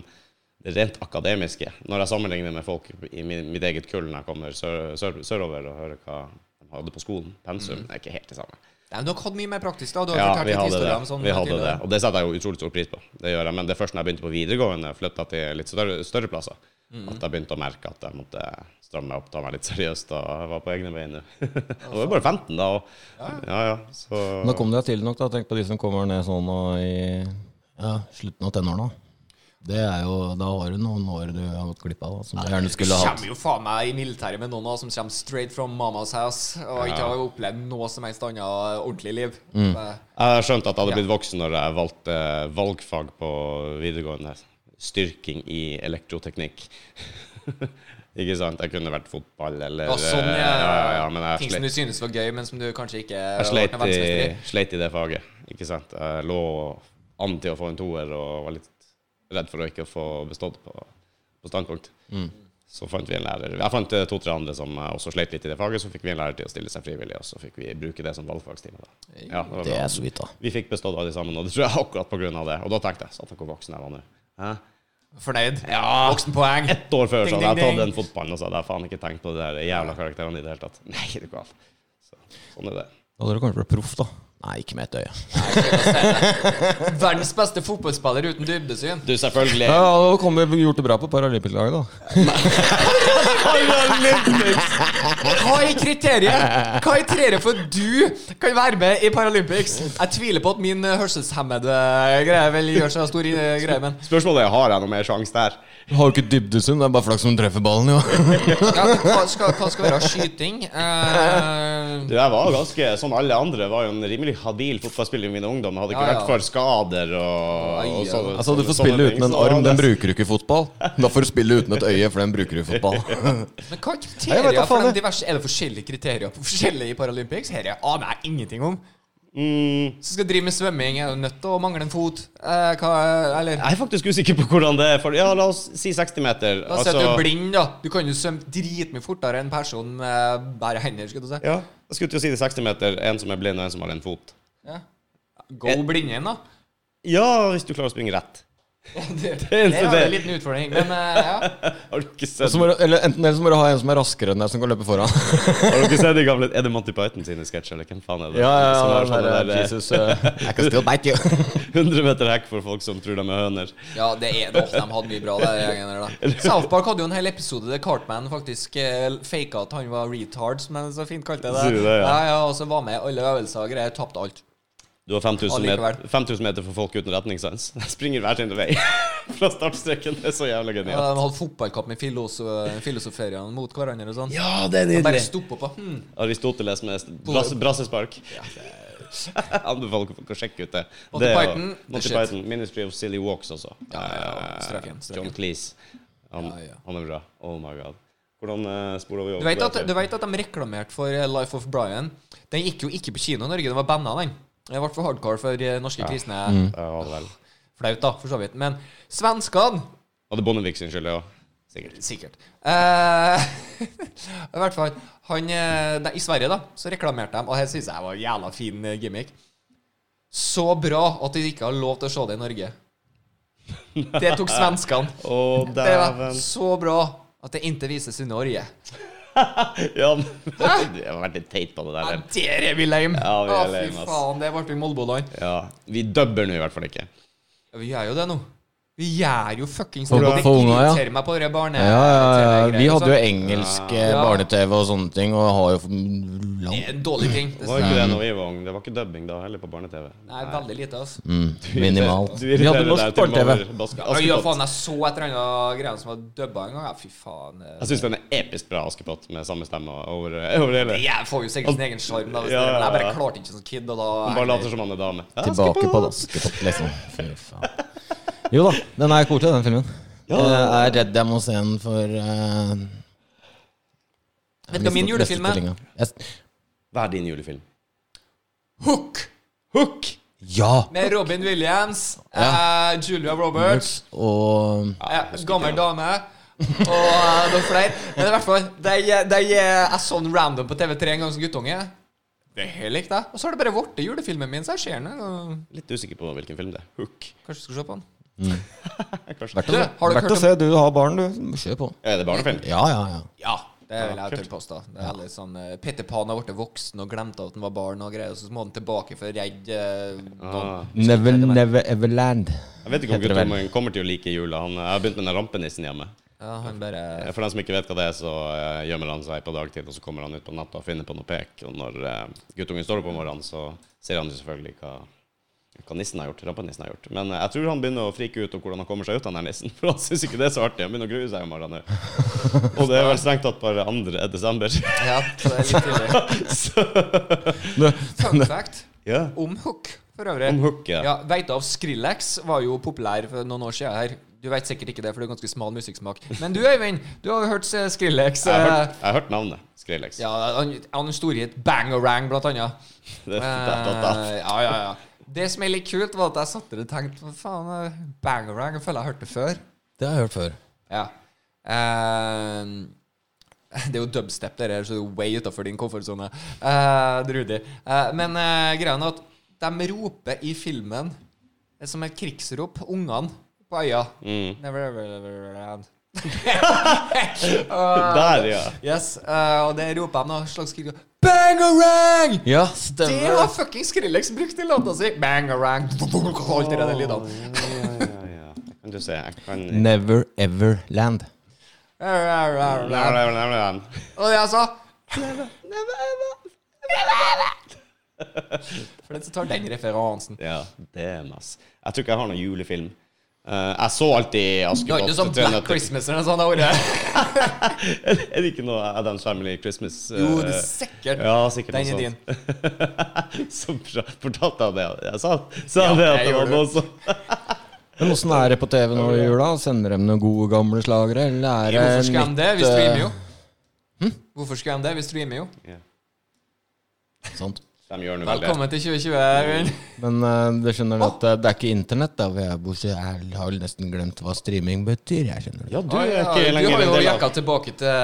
[SPEAKER 3] det rent akademiske Når jeg sammenligner med folk i min, mitt eget kull når jeg kommer sør, sør, sørover og hører hva de hadde på skolen, pensum, det er ikke helt det samme.
[SPEAKER 1] Nei, men Dere hadde mye mer praktisk da. Du har
[SPEAKER 3] Ja,
[SPEAKER 1] fortalt
[SPEAKER 3] vi
[SPEAKER 1] litt
[SPEAKER 3] hadde det.
[SPEAKER 1] historier om sånn
[SPEAKER 3] Vi hadde det.
[SPEAKER 1] tidligere.
[SPEAKER 3] Og det setter jeg jo utrolig stor pris på. Det gjør jeg. Men det er først når jeg begynte på videregående, flytta til litt større, større plasser, at jeg begynte å merke at jeg måtte stramme meg opp, ta meg litt seriøst. Og jeg var på egne bein nå. Jeg var jo bare 15 da. Og, ja, ja. Så
[SPEAKER 2] Nå kom deg tidlig nok, da. Tenk på de som kommer ned sånn og i ja, slutten av tenårene. Det er jo, da har du noen år du har gått glipp av, da, som du gjerne skulle hatt.
[SPEAKER 1] kommer jo faen meg i militæret med noen av oss som kommer straight from mamas house og ikke har opplevd noe som helst annet ordentlig liv.
[SPEAKER 3] Mm.
[SPEAKER 1] Så-
[SPEAKER 3] Jeg skjønte at jeg hadde blitt voksen når jeg valgte valgfag på videregående. Styrking i elektroteknikk. Ikke sant? Jeg kunne vært fotball eller
[SPEAKER 1] Det var sånn jeg,
[SPEAKER 3] ja, ja, ja, men jeg
[SPEAKER 1] ting
[SPEAKER 3] slet-
[SPEAKER 1] som du synes var gøy, men som du kanskje ikke
[SPEAKER 3] Jeg sleit
[SPEAKER 1] ble noe verdensmester
[SPEAKER 3] i, sleit i det faget, ikke sant. Jeg lå an til å få en toer og var litt redd for å ikke få bestått på, på standpunkt. Så fant vi en lærer. Jeg fant eh, to-tre andre som eh, også sleit litt i det faget. Så fikk vi en lærer til å stille seg frivillig, og så fikk vi bruke det som valgfagstime. Da. Ja, det var
[SPEAKER 2] Det
[SPEAKER 3] bra.
[SPEAKER 2] er så vidt, da.
[SPEAKER 3] Vi fikk bestått alle sammen, og det tror jeg akkurat på grunn av det. Og da tenkte jeg satan hvor voksen jeg var nå. Hæ?
[SPEAKER 1] Fornøyd?
[SPEAKER 3] Ja.
[SPEAKER 1] Voksenpoeng?
[SPEAKER 3] Ett år før så
[SPEAKER 1] Ding,
[SPEAKER 3] hadde jeg
[SPEAKER 1] ding,
[SPEAKER 3] tatt
[SPEAKER 1] ding.
[SPEAKER 3] den fotballen, og så hadde jeg faen ikke tenkt på de der jævla karakterene i det hele tatt. Nei, det går av. Så, sånn er det.
[SPEAKER 2] Da hadde du kanskje blitt proff, da. Nei, ikke med et øye.
[SPEAKER 1] Verdens beste fotballspiller uten dybdesyn.
[SPEAKER 3] Du, selvfølgelig.
[SPEAKER 2] Ja, ja, da kom vi gjort det bra på Paralympic-laget, da.
[SPEAKER 1] Hva er kriteriet? Hva er kriteriet for at du kan være med i Paralympics? Jeg tviler på at min eh, hørselshemmede eh, greie vel gjør så stor eh, greie, men
[SPEAKER 3] Spørsmålet er har jeg noe mer sjanse der.
[SPEAKER 2] Har jo ikke dybdesyn, det er bare flaks som treffer ballen, jo.
[SPEAKER 1] ja, hva, skal, hva skal være skyting? Eh,
[SPEAKER 3] Du, jeg var ganske, Som alle andre var jo en rimelig habil fotballspiller i min ungdom. Hadde ikke
[SPEAKER 1] Ja, ja.
[SPEAKER 3] vært for skader og,
[SPEAKER 1] Ai,
[SPEAKER 3] og
[SPEAKER 1] ja.
[SPEAKER 3] sånne,
[SPEAKER 2] Altså, du
[SPEAKER 3] sånne-
[SPEAKER 2] får
[SPEAKER 3] sånne
[SPEAKER 2] spille
[SPEAKER 3] ting,
[SPEAKER 2] uten en
[SPEAKER 3] så
[SPEAKER 2] arm, den
[SPEAKER 3] hadde jeg-
[SPEAKER 2] bruker du ikke i fotball. Da får du spille uten et øye, for den bruker du i fotball.
[SPEAKER 1] men hva
[SPEAKER 2] Nei, jeg vet da
[SPEAKER 1] er kriterier for
[SPEAKER 2] faen,
[SPEAKER 1] de diverse Er det forskjellige kriterier på forskjellige i Paralympics? Dette aner jeg ingenting om.
[SPEAKER 3] Mm,
[SPEAKER 1] Hvis du skal drive med svømming, er du nødt til å mangle en fot? Eh, hva, eller
[SPEAKER 3] jeg er faktisk usikker på hvordan det er. For, ja, La oss si 60 meter. Altså,
[SPEAKER 1] La oss si at
[SPEAKER 2] altså-
[SPEAKER 1] du er blind, da. Du kan jo svømme dritmye fortere enn personen med bare hender. skal du si
[SPEAKER 3] ja, jeg skulle til å si det 60 meter. En som er blind, og en som har en fot.
[SPEAKER 1] ja. Go blinden, da.
[SPEAKER 3] Ja, hvis du klarer å springe rett.
[SPEAKER 1] Det, det
[SPEAKER 3] eneste
[SPEAKER 1] er
[SPEAKER 3] det-
[SPEAKER 1] en liten utfordring, men eh, ja.
[SPEAKER 3] Har du ikke sett,
[SPEAKER 2] Så må du, eller enten eller så må du ha en som er raskere enn deg, som kan løpe foran.
[SPEAKER 3] har du ikke sett de gamle Er det Monty Python sine sketsjer, eller hvem faen er det? Som
[SPEAKER 2] sånn
[SPEAKER 3] har sånne der, eh,
[SPEAKER 2] I can still bite you.
[SPEAKER 3] 100 meter hekk for folk som tror de er høner.
[SPEAKER 1] Ja, det er det. Åh, De hadde mye bra der. gjengen der, da. South Park hadde jo en hel episode der Cartman faktisk eh, faka at han var retard, som han så fint kalte det.
[SPEAKER 3] Sier du det, ja.
[SPEAKER 1] Ja, ja, Og så var med i alle øvelser og greier. Tapte alt.
[SPEAKER 3] Du har 5000 meter,
[SPEAKER 1] Allikevel.
[SPEAKER 3] 5000 meter for folk uten retningssans. De springer hver sin vei fra startstreken. Det er så jævla
[SPEAKER 1] Ja,
[SPEAKER 3] genialt.
[SPEAKER 1] de hadde fotballkamp med filoso- filosoferiene mot hverandre og sånn.
[SPEAKER 3] Ja, det er
[SPEAKER 1] Bare stopp opp og hm.
[SPEAKER 3] Aristoteles med brass, brassespark. Jeg anbefaler folk å sjekke ut det.
[SPEAKER 1] Monty
[SPEAKER 3] Det er jo-
[SPEAKER 1] Python, the
[SPEAKER 3] Monty
[SPEAKER 1] shit.
[SPEAKER 3] Python, Ministry of Silly Walks også.
[SPEAKER 1] ja, strek igjen,
[SPEAKER 3] Eh,
[SPEAKER 1] strek
[SPEAKER 3] John
[SPEAKER 1] igjen.
[SPEAKER 3] Cleese. Han,
[SPEAKER 1] Ja, ja.
[SPEAKER 3] han er bra. Oh my god. Hvordan uh, sporer vi over?
[SPEAKER 1] Du vet,
[SPEAKER 3] det
[SPEAKER 1] at,
[SPEAKER 3] til?
[SPEAKER 1] du vet at de reklamerte for eh, Life of Brian? Den
[SPEAKER 3] Mm.
[SPEAKER 1] gikk jo ikke på kino i Norge, den var banna, den. Det ble for hardcore for eh, norske kristne.
[SPEAKER 3] Ja, vel.
[SPEAKER 1] Flaut, da, for så vidt. Men svenskene
[SPEAKER 3] Og det er Bondevik sin skyld, ja. Sikkert.
[SPEAKER 1] Sikkert. Eh, I hvert fall. Han, eh, nei, I Sverige da, så reklamerte de, og det synes jeg var en jævla fin eh, gimmick. Så bra at de ikke har lov til å se det i Norge. Det tok svenskene.
[SPEAKER 3] Å,
[SPEAKER 1] Det var
[SPEAKER 3] dæven.
[SPEAKER 1] så bra at det ikke vises i Norge.
[SPEAKER 3] Ja, men- jeg har vært litt teit på det
[SPEAKER 1] Ja,
[SPEAKER 3] der.
[SPEAKER 1] der er vi lame!
[SPEAKER 3] Ja, vi er
[SPEAKER 1] Å,
[SPEAKER 3] lame, ass.
[SPEAKER 1] fy faen, det ble vi Molboland.
[SPEAKER 3] Ja. Vi dubber nå i hvert fall ikke.
[SPEAKER 1] Ja, vi gjør jo det nå. Vi gjør jo fuckings
[SPEAKER 2] For-
[SPEAKER 1] det. og Det
[SPEAKER 2] for unga, ja.
[SPEAKER 1] irriterer meg på det barne...
[SPEAKER 2] Ja, ja, ja. Vi
[SPEAKER 1] greier,
[SPEAKER 2] hadde jo
[SPEAKER 1] altså.
[SPEAKER 2] engelske
[SPEAKER 1] Ja.
[SPEAKER 2] barne-TV og sånne ting, og har jo
[SPEAKER 1] altså. Det
[SPEAKER 2] langt
[SPEAKER 1] er en dårlig ting.
[SPEAKER 3] Det var ikke det når vi var unge. Det var ikke dubbing da heller på barne-TV.
[SPEAKER 1] Nei, veldig lite, altså.
[SPEAKER 2] mm, minimalt.
[SPEAKER 3] Du
[SPEAKER 2] Vi hadde
[SPEAKER 3] irriterer deg
[SPEAKER 2] norsk
[SPEAKER 3] til
[SPEAKER 2] barne-TV.
[SPEAKER 3] Valder Baske-
[SPEAKER 1] Oi, ja,
[SPEAKER 3] Askepott.
[SPEAKER 1] faen, jeg så et eller annet greier som var dubba en gang. Ja, fy faen. eh.
[SPEAKER 3] Jeg syns den er episk bra, Askepott, med samme stemme over, over hele.
[SPEAKER 1] Jeg får jo sikkert sin egen sjarm, da. hvis
[SPEAKER 3] Ja,
[SPEAKER 1] det-
[SPEAKER 3] ja,
[SPEAKER 1] Men jeg
[SPEAKER 3] ja.
[SPEAKER 1] bare klarte ikke som kid, og da
[SPEAKER 3] Han bare later som han er dame.
[SPEAKER 2] Tilbake på Askepott, liksom. Fy faen. Jo da, den er koselig, den filmen. Jeg er redd jeg må se den for eh,
[SPEAKER 1] Vet du hva min
[SPEAKER 2] neste
[SPEAKER 1] julefilm er?
[SPEAKER 2] stillinga. Jeg-
[SPEAKER 3] Hva er din julefilm?
[SPEAKER 1] Hook! Hook!
[SPEAKER 2] Ja!
[SPEAKER 1] Med Robin Williams, eh, Julia Roberts,
[SPEAKER 2] Og
[SPEAKER 1] eh, gammel dame og eh, noen flere. Men i hvert fall, de, de, eh, jeg så den random på TV3 en gang som guttunge. Det her likte jeg. Og så har det bare blitt julefilmen min, så jeg ser den. eh, og
[SPEAKER 3] Litt usikker på hvilken film det er. Hook.
[SPEAKER 1] Kanskje du skal se på den.
[SPEAKER 2] Verdt
[SPEAKER 1] Du, har dere hørt Mm. om
[SPEAKER 2] Du har barn, du. Kjør på.
[SPEAKER 3] Er det barnefilm?
[SPEAKER 2] Ja, ja, ja.
[SPEAKER 1] Ja, det vil jeg tørre påstå. Det er litt sånn eh, Peter Pan har blitt voksen og glemte at han var barn og greier, og så må han tilbake for å redde eh, noen.
[SPEAKER 3] Ah.
[SPEAKER 2] Never, never, ever land.
[SPEAKER 3] Jeg vet ikke om
[SPEAKER 2] Heter det vel.
[SPEAKER 3] guttormen kommer til å like jula. Han, jeg har begynt med den rampenissen hjemme.
[SPEAKER 1] Ja, han bare
[SPEAKER 3] Eh, For den som ikke vet hva det er, så eh, gjemmer han seg på dagtid, og så kommer han ut på natta og finner på noe pek. Og når eh, guttungen står opp om morgenen, så ser han jo selvfølgelig hva, hva nissen har gjort. Rampenissen har gjort. Men eh, jeg tror han begynner å frike ut om hvordan han kommer seg ut av den her nissen. For han syns ikke det er så artig. Han begynner å grue seg om morgenen nå. Og det er vel strengt tatt bare 2. desember.
[SPEAKER 1] Ja, så det er litt tidlig. Fun fact
[SPEAKER 3] ja.
[SPEAKER 1] om Hook, for øvrig.
[SPEAKER 3] Om Hook, ja.
[SPEAKER 1] ja Veit du av Skrillex var jo populær for noen år siden her. Du veit sikkert ikke det, for du har ganske smal musikksmak. Men du, Øyvind, du har jo hørt eh, Skrillex.
[SPEAKER 3] Jeg har
[SPEAKER 1] eh,
[SPEAKER 3] hørt, jeg har hørt navnet. Skrillex.
[SPEAKER 1] Ja, han, han storhet Bang og Rang, blant annet.
[SPEAKER 3] Det-
[SPEAKER 1] Eh,
[SPEAKER 3] da- da- da.
[SPEAKER 1] ja, ja, ja. Det som er litt kult, var at jeg satt der og tenkte "Hva faen, eh, Bang og Rang, jeg føler jeg hørte det før.
[SPEAKER 2] Det har jeg hørt før.
[SPEAKER 1] Ja. Eh, det er jo dubstep, det der, så det er jo way utafor din komfortsone, eh, Rudi. Eh, men eh, greia er at de roper i filmen eh, som et krigsrop, ungene på øya. Never ever, ever, land.
[SPEAKER 3] Der, ja.
[SPEAKER 1] Yes, eh, og det roper de noe slags krig Bangarang!
[SPEAKER 2] Ja,
[SPEAKER 1] Det har fucking Skrillex brukt i låta si! Bangarang Alt det der lydene.
[SPEAKER 3] ja, ja. Kan du se. Jeg kan
[SPEAKER 2] Never ever land.
[SPEAKER 1] Arr, arr, arr,
[SPEAKER 3] Nei,
[SPEAKER 1] arr.
[SPEAKER 3] nei, nei, nei, nei.
[SPEAKER 1] Og jeg sa For den som tar den referansen.
[SPEAKER 3] Ja, damn, ass. Jeg tror ikke jeg har noen julefilm. Eh, jeg så alltid
[SPEAKER 1] Du har ikke
[SPEAKER 3] Askepott.
[SPEAKER 1] sånn
[SPEAKER 3] til
[SPEAKER 1] Black
[SPEAKER 3] nøtter.
[SPEAKER 1] Christmas eller noe sånt? det ordet.
[SPEAKER 3] er det ikke noe Adams Family Christmas? eh,
[SPEAKER 1] Jo, det er sikkert.
[SPEAKER 3] ja, sikkert
[SPEAKER 1] Den er
[SPEAKER 3] noe
[SPEAKER 1] din.
[SPEAKER 3] sånt. Så bra. Fortalte jeg det? Jeg sa, sa
[SPEAKER 1] Ja,
[SPEAKER 3] det at
[SPEAKER 1] jeg
[SPEAKER 3] det var
[SPEAKER 1] gjorde
[SPEAKER 3] noe sånt.
[SPEAKER 2] Men åssen er det på TV nå i jula? Sender de noen gode, gamle slagere? Eller er
[SPEAKER 1] Hvorfor
[SPEAKER 2] det
[SPEAKER 1] skal de det? Vi
[SPEAKER 2] eh,
[SPEAKER 1] streamer jo. Hm? Hvorfor skal de det? Vi streamer jo.
[SPEAKER 3] Ja.
[SPEAKER 2] sant.
[SPEAKER 3] De gjør nå vel det.
[SPEAKER 1] Velkommen til 2020, Eivind.
[SPEAKER 2] Men eh, du skjønner at eh, det er ikke internett der hvor jeg bor, så jeg har jo nesten glemt hva streaming betyr. Jeg skjønner det.
[SPEAKER 3] Ja, du
[SPEAKER 1] Oi,
[SPEAKER 3] er
[SPEAKER 1] ja,
[SPEAKER 3] ikke
[SPEAKER 1] Du
[SPEAKER 3] lenger
[SPEAKER 1] har
[SPEAKER 3] en
[SPEAKER 1] jo
[SPEAKER 3] del av
[SPEAKER 1] jakka tilbake til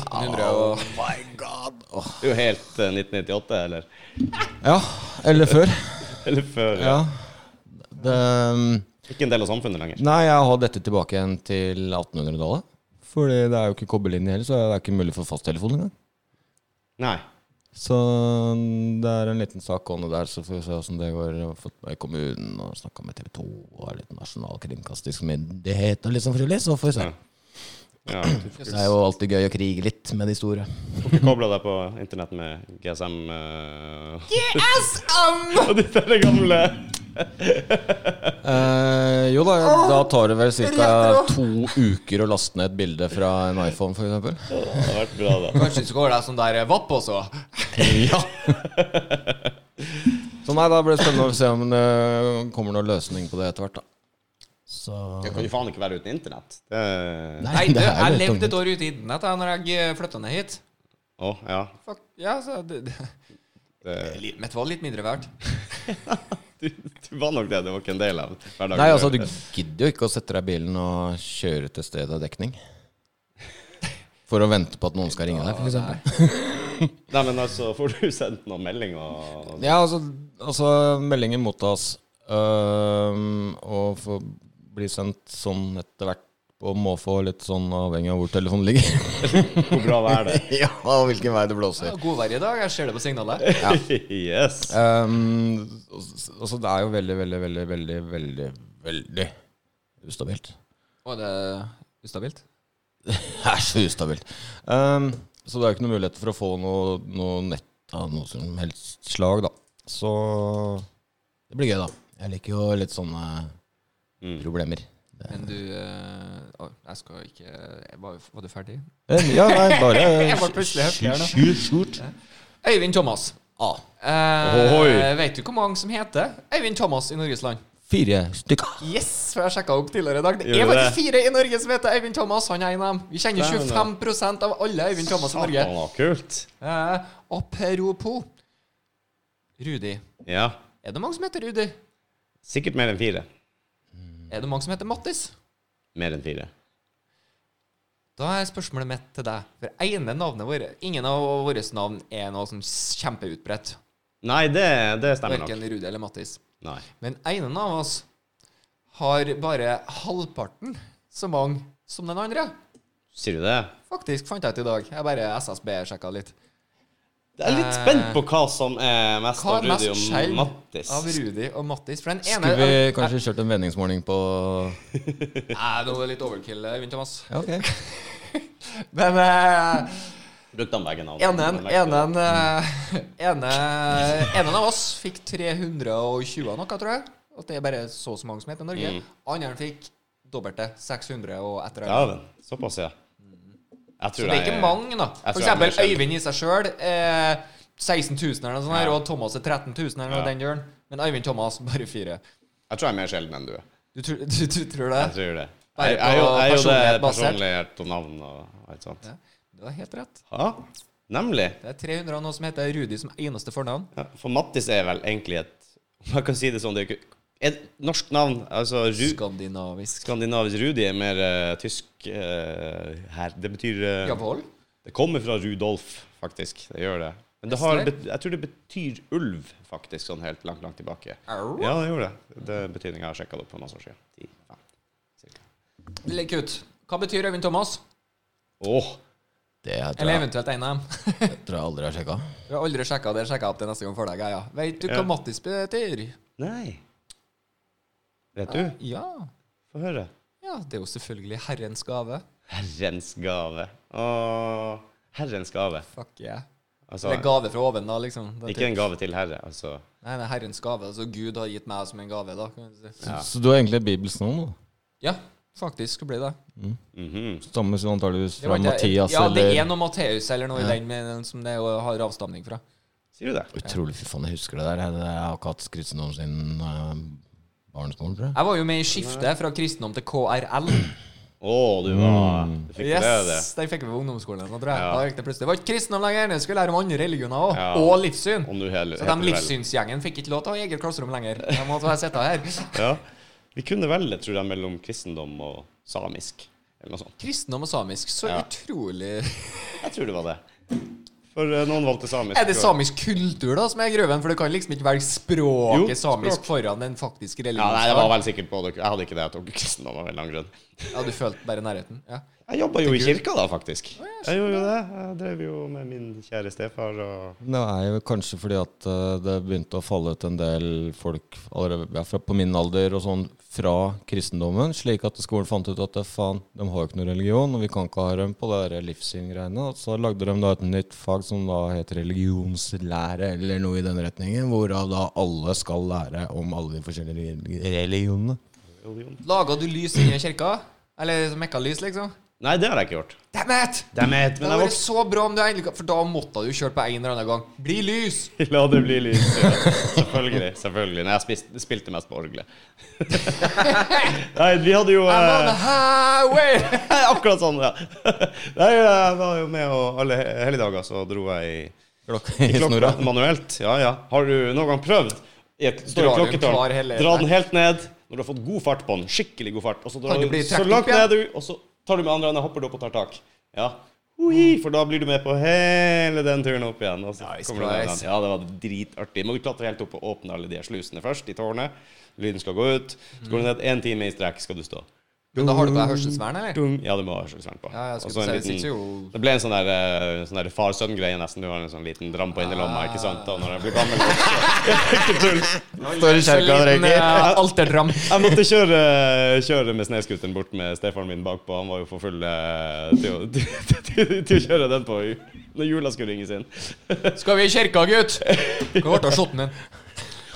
[SPEAKER 1] 1900 og
[SPEAKER 2] my god. Åh.
[SPEAKER 3] Du er jo helt eh, 1998, eller?
[SPEAKER 2] Ja, eller før.
[SPEAKER 3] Eller før.
[SPEAKER 2] Ja. Det, um,
[SPEAKER 3] Ikke en del av samfunnet lenger.
[SPEAKER 2] nei, jeg har dette tilbake igjen til 1800-tallet. Fordi det er jo ikke kobberlinje heller, så det er ikke mulig for fasttelefon engang.
[SPEAKER 3] Nei.
[SPEAKER 2] Så um, det er en liten sak om det der, så får vi se åssen det går. Jeg har fått meg i kommunen og snakka med TV 2 og er litt nasjonal kringkastingsmyndighet og litt sånn frivillig, så får vi se.
[SPEAKER 3] Ja. Ja.
[SPEAKER 2] Det er jo alltid gøy å krige litt med de store.
[SPEAKER 3] Du kobla deg på internett med GSM eh,
[SPEAKER 1] GSM!
[SPEAKER 3] og de der gamle
[SPEAKER 2] Eh, jo da, jeg- da tar det vel ca.
[SPEAKER 1] Retro!
[SPEAKER 2] to uker å laste ned et bilde fra en iPhone, f.eks.
[SPEAKER 3] Det hadde vært bra, da.
[SPEAKER 1] Kanskje du skal gå deg sånn der vapp også?
[SPEAKER 2] Ja. Så nei, da blir det spennende å se om det kommer noen løsning på det etter hvert, da. Så
[SPEAKER 3] Det kan jo faen ikke være uten internett. Det...
[SPEAKER 1] Nei, du,
[SPEAKER 2] er jo
[SPEAKER 1] jeg
[SPEAKER 2] helt
[SPEAKER 1] levde
[SPEAKER 2] tungt.
[SPEAKER 1] et år ute i internett da når jeg flytta ned hit.
[SPEAKER 3] Å, ja.
[SPEAKER 1] Fuck, ja, så det, det,
[SPEAKER 3] Det...
[SPEAKER 1] Mitt var litt mindre verdt.
[SPEAKER 3] Du, du var nok det. Det var ikke en del av hverdagen.
[SPEAKER 2] Nei, altså, du gidder jo ikke å sette deg i bilen og kjøre til stedet av dekning. For å vente på at noen skal ringe deg, for eksempel.
[SPEAKER 3] Nei, men altså, får du sendt noen melding og
[SPEAKER 2] Ja, altså, altså meldingen mottas øhm, og får bli sendt sånn etter hvert på måfå, litt sånn avhengig av hvor telefonen ligger.
[SPEAKER 3] Hvor bra vær det?
[SPEAKER 2] ja, og hvilken vei det blåser.
[SPEAKER 1] Ja, god vær i dag. Jeg ser det på signalet.
[SPEAKER 3] Yes.
[SPEAKER 2] Ehm, altså, altså, det er jo veldig, veldig, veldig, veldig, veldig, veldig ustabilt.
[SPEAKER 1] Og det er ustabilt.
[SPEAKER 2] Det er så ustabilt. Ehm, så det er jo ikke noen muligheter for å få noe, noe nett av noe som helst slag, da. Så det blir gøy, da. Jeg liker jo litt sånne
[SPEAKER 3] Mm.
[SPEAKER 2] problemer. Det-
[SPEAKER 1] Men du eh, å, Jeg skal ikke jeg var, var du ferdig?
[SPEAKER 2] Eh, Ja, nei,
[SPEAKER 1] Jeg var
[SPEAKER 2] bare
[SPEAKER 1] plutselig helt fjern, da.
[SPEAKER 2] Skyt, skyt.
[SPEAKER 1] Øyvind Thomas.
[SPEAKER 2] Ah,
[SPEAKER 1] Eh,
[SPEAKER 3] Ohoi.
[SPEAKER 1] vet du hvor mange som heter Øyvind Thomas i Norges land?
[SPEAKER 2] Fire stykker.
[SPEAKER 1] Yes, for jeg sjekka opp tidligere i dag. Det
[SPEAKER 3] Gjorde
[SPEAKER 1] er
[SPEAKER 3] du
[SPEAKER 1] faktisk fire i Norge som heter Øyvind Thomas. Han er en av dem. Vi kjenner
[SPEAKER 3] Dæven, da.
[SPEAKER 1] 25 av alle Øyvind Thomas i Norge.
[SPEAKER 3] Satan, var kult.
[SPEAKER 1] Eh, apropos Rudi.
[SPEAKER 3] Ja.
[SPEAKER 1] Er det mange som heter Rudi?
[SPEAKER 3] Sikkert mer enn fire.
[SPEAKER 1] Er det mange som heter Mattis?
[SPEAKER 3] Mer enn fire.
[SPEAKER 1] Da er spørsmålet mitt til deg. For ene navnet våre, ingen av våre navn er noe som s- kjempeutbredt.
[SPEAKER 3] Nei, det, det stemmer nok.
[SPEAKER 1] Verken Rudi eller Mattis.
[SPEAKER 3] Nei.
[SPEAKER 1] Men ene av oss har bare halvparten så mange som den andre.
[SPEAKER 3] Sier du det?
[SPEAKER 1] Faktisk fant jeg ut i dag. Jeg bare SSB-sjekka litt.
[SPEAKER 3] Jeg er litt spent på hva som er mest
[SPEAKER 1] Eh, Hva
[SPEAKER 3] av
[SPEAKER 1] er mest
[SPEAKER 3] Rudi og
[SPEAKER 1] skjelv
[SPEAKER 3] Mattis.
[SPEAKER 1] av Rudi og Mattis? For den ene
[SPEAKER 2] Skulle vi kanskje kjørt en vendingsmåling på
[SPEAKER 1] Nei, nå er det litt overkill, Øyvind Thomas.
[SPEAKER 2] Ja, ok.
[SPEAKER 1] Men eh,
[SPEAKER 3] Brukte han begge navn?
[SPEAKER 1] enen enen, eh, ene, enen av oss fikk 320 og noe, tror jeg. At det er bare så og så mange som heter i Norge.
[SPEAKER 3] Mm.
[SPEAKER 1] Andre fikk dobbelte. 600 og etter det.
[SPEAKER 3] Dæven. Såpass, ja. Jeg
[SPEAKER 1] Så
[SPEAKER 3] tror
[SPEAKER 1] det er
[SPEAKER 3] jeg-
[SPEAKER 1] ikke mange, da.
[SPEAKER 3] jeg
[SPEAKER 1] For
[SPEAKER 3] tror jeg
[SPEAKER 1] eksempel
[SPEAKER 3] blir skjedd.
[SPEAKER 1] Øyvind i seg sjøl. Eh, 16 000 eller noe sånt, her,
[SPEAKER 3] Ja.
[SPEAKER 1] og Thomas er 13 000 eller noe
[SPEAKER 3] Ja.
[SPEAKER 1] den gjør. Men Øyvind Thomas bare fire.
[SPEAKER 3] Jeg tror jeg er mer sjelden enn du er.
[SPEAKER 1] Du, tror- du, du tror det?
[SPEAKER 3] Jeg tror det.
[SPEAKER 1] Bare
[SPEAKER 3] Jeg, jeg, er jo-
[SPEAKER 1] på
[SPEAKER 3] jeg er jo
[SPEAKER 1] personlighet
[SPEAKER 3] det
[SPEAKER 1] basert.
[SPEAKER 3] personlighet og navn og alt sånt.
[SPEAKER 1] Ja. Du har helt rett.
[SPEAKER 3] Ja, nemlig.
[SPEAKER 1] Det er 300 og noe som heter Rudi som eneste fornavn.
[SPEAKER 3] Ja, For Mattis er vel egentlig et Om jeg kan si det sånn, det er ikke et norsk navn. Altså Ru
[SPEAKER 1] Skandinavisk.
[SPEAKER 3] Skandinavisk Rudi er mer eh, tysk eh, her. Det betyr eh,
[SPEAKER 1] Jawohl.
[SPEAKER 3] Det kommer fra Rudolf, faktisk. Det gjør det. Men det har, bet- jeg tror det betyr ulv, faktisk, sånn helt langt, langt tilbake.
[SPEAKER 1] Au.
[SPEAKER 3] Ja, det gjorde det. Det er betydningen jeg har sjekka det opp for masse år siden. Ti, fem, cirka.
[SPEAKER 1] Legg ut. Hva betyr Øyvind Thomas?
[SPEAKER 3] Åh,
[SPEAKER 2] Det tror
[SPEAKER 1] Eller
[SPEAKER 2] jeg,
[SPEAKER 1] eventuelt en av dem.
[SPEAKER 2] tror jeg aldri har sjekka.
[SPEAKER 1] Vi har aldri sjekka det. Sjekka opp det neste gang for deg. Ja, ja. Vet du hva
[SPEAKER 3] Ja.
[SPEAKER 1] Mattis betyr?
[SPEAKER 3] nei. Vet du?
[SPEAKER 1] Ja.
[SPEAKER 3] Få høre.
[SPEAKER 1] ja. Det er jo selvfølgelig Herrens gave.
[SPEAKER 3] Herrens gave. Åh, herrens gave.
[SPEAKER 1] Fuck yeah.
[SPEAKER 3] Altså,
[SPEAKER 1] Eller gave fra oven, da, liksom. Det er
[SPEAKER 3] ikke en gave til herre, altså.
[SPEAKER 1] Nei, det er Herrens gave. Altså Gud har gitt meg som en gave, da. Kan du si.
[SPEAKER 3] Ja.
[SPEAKER 2] Så du har egentlig Bibels navn, da?
[SPEAKER 1] Ja, faktisk blir det.
[SPEAKER 3] Mhm.
[SPEAKER 2] Stammer som antageligvis
[SPEAKER 1] det
[SPEAKER 2] fra
[SPEAKER 1] var ikke-
[SPEAKER 2] Mathias
[SPEAKER 1] ja,
[SPEAKER 2] eller
[SPEAKER 1] det er noe Matteus eller noe i den men- som det jo har avstamning fra.
[SPEAKER 3] Sier du det?
[SPEAKER 2] Utrolig, fy faen, jeg husker det der. Jeg, jeg har ikke hatt kristendommen siden uh, barneskolen, tror jeg.
[SPEAKER 1] Jeg var jo med i skiftet fra kristendom til KRL.
[SPEAKER 3] Åh, du var Du fikk med det.
[SPEAKER 1] Yes, Den fikk vi på ungdomsskolen. Da, tror jeg.
[SPEAKER 3] Ja.
[SPEAKER 1] da gikk det plutselig. Det var ikke kristendom lenger. Det skulle lære om andre religioner òg.
[SPEAKER 3] Ja.
[SPEAKER 1] Og livssyn.
[SPEAKER 3] Og nå heter
[SPEAKER 1] Så de
[SPEAKER 3] heter det vel-
[SPEAKER 1] livssynsgjengen fikk ikke lov til å ha eget klasserom lenger. De måtte bare sitte her.
[SPEAKER 3] Ja. Vi kunne velge, tror jeg, mellom kristendom og samisk, eller noe sånt.
[SPEAKER 1] Kristendom og samisk. Så
[SPEAKER 3] Ja.
[SPEAKER 1] utrolig
[SPEAKER 3] Jeg tror det var det. For eh, noen valgte samisk.
[SPEAKER 1] Er det
[SPEAKER 3] tror jeg.
[SPEAKER 1] samisk kultur da som er grøven? For du kan liksom ikke velge språket
[SPEAKER 3] Jo,
[SPEAKER 1] samisk
[SPEAKER 3] språk.
[SPEAKER 1] foran den faktiske
[SPEAKER 3] Ja, nei, det var
[SPEAKER 1] religionen.
[SPEAKER 3] vel sikkert både Jeg hadde ikke det. Jeg tok kristendom av en lang grunn.
[SPEAKER 1] Ja, du følte bare nærheten? Ja.
[SPEAKER 3] Jeg jobba jo i kirka da, faktisk. Jeg gjorde jo det. Jeg drev jo med min kjære stefar og
[SPEAKER 2] Det er jo kanskje fordi at eh, det begynte å falle ut en del folk allerede ja, fra, på min alder og sånn fra kristendommen, slik at skolen fant ut at eh, faen, de har jo ikke noe religion, og vi kan ikke ha dem på det der livssyn-greiene. Og Så lagde de da et nytt fag som da heter religionslære, eller noe i den retningen, hvorav da alle skal lære om alle de forskjellige religi- religionene.
[SPEAKER 3] religion.
[SPEAKER 1] Laga du lys inni kirka? Eller mekka lys, liksom?
[SPEAKER 3] Nei, det har jeg ikke gjort.
[SPEAKER 1] Damn it!
[SPEAKER 3] Damn it,
[SPEAKER 1] Det
[SPEAKER 3] men
[SPEAKER 1] hadde
[SPEAKER 3] jeg
[SPEAKER 1] vært så bra om du endelig For da måtte du kjørt på en eller annen gang. Bli lys!
[SPEAKER 3] vokste La det bli lys. Ja. Selvfølgelig. selvfølgelig. Nei, jeg spiste, spilte mest på orgelet. Nei, vi hadde jo
[SPEAKER 1] I'm on
[SPEAKER 3] eh,
[SPEAKER 1] the highway!
[SPEAKER 3] Akkurat sånn, ja. Nei, jeg var jo med, og alle he- helligdager så dro jeg i
[SPEAKER 2] Klokka i
[SPEAKER 3] Klokka
[SPEAKER 2] snora.
[SPEAKER 3] manuelt, ja ja. Har du noen gang prøvd i et
[SPEAKER 1] Drar
[SPEAKER 3] står
[SPEAKER 1] du
[SPEAKER 3] i
[SPEAKER 1] en klar
[SPEAKER 3] klokketårn.
[SPEAKER 1] hele-
[SPEAKER 3] Dra den helt ned når du har fått god fart på den. Skikkelig god fart. Og så
[SPEAKER 1] Kan
[SPEAKER 3] drar
[SPEAKER 1] du
[SPEAKER 3] du
[SPEAKER 1] bli
[SPEAKER 3] så
[SPEAKER 1] trukket
[SPEAKER 3] langt
[SPEAKER 1] opp igjen?
[SPEAKER 3] ned du, og så tar du med andre hånda, hopper du opp og tar tak. Ja. Ui, for da blir du med på hele den turen opp igjen. Og så
[SPEAKER 1] Nice
[SPEAKER 3] kommer du ned
[SPEAKER 1] prize.
[SPEAKER 3] igjen. Ja, det var dritartig. Må du klatre helt opp og åpne alle de her slusene først, i tårnet. Lyden skal gå ut. Så går du ned én time i strekk, skal du stå.
[SPEAKER 1] Men da har du på deg hørselsvern, eller?
[SPEAKER 3] Dum. Ja, du må ha slank på.
[SPEAKER 1] Ja, jeg skulle
[SPEAKER 3] Og så en
[SPEAKER 1] si, det
[SPEAKER 3] liten-
[SPEAKER 1] sitter jo-
[SPEAKER 3] Det ble en sånn der, eh, sånn der far-sønn-greie nesten. Du har en sånn liten dram på innerlomma, ikke sant? Og når jeg blir gammel Ikke tull.
[SPEAKER 2] Står i kjerka og røyker.
[SPEAKER 1] eh, alterdram.
[SPEAKER 3] Jeg måtte kjøre, kjøre med snøscooteren bort med stefaren min bakpå. Han var jo for full eh, til, å- til, til, til å kjøre den på ju- når jula skulle ringes inn.
[SPEAKER 1] Skal vi i kirka, gutt? Hva ble av shotten din?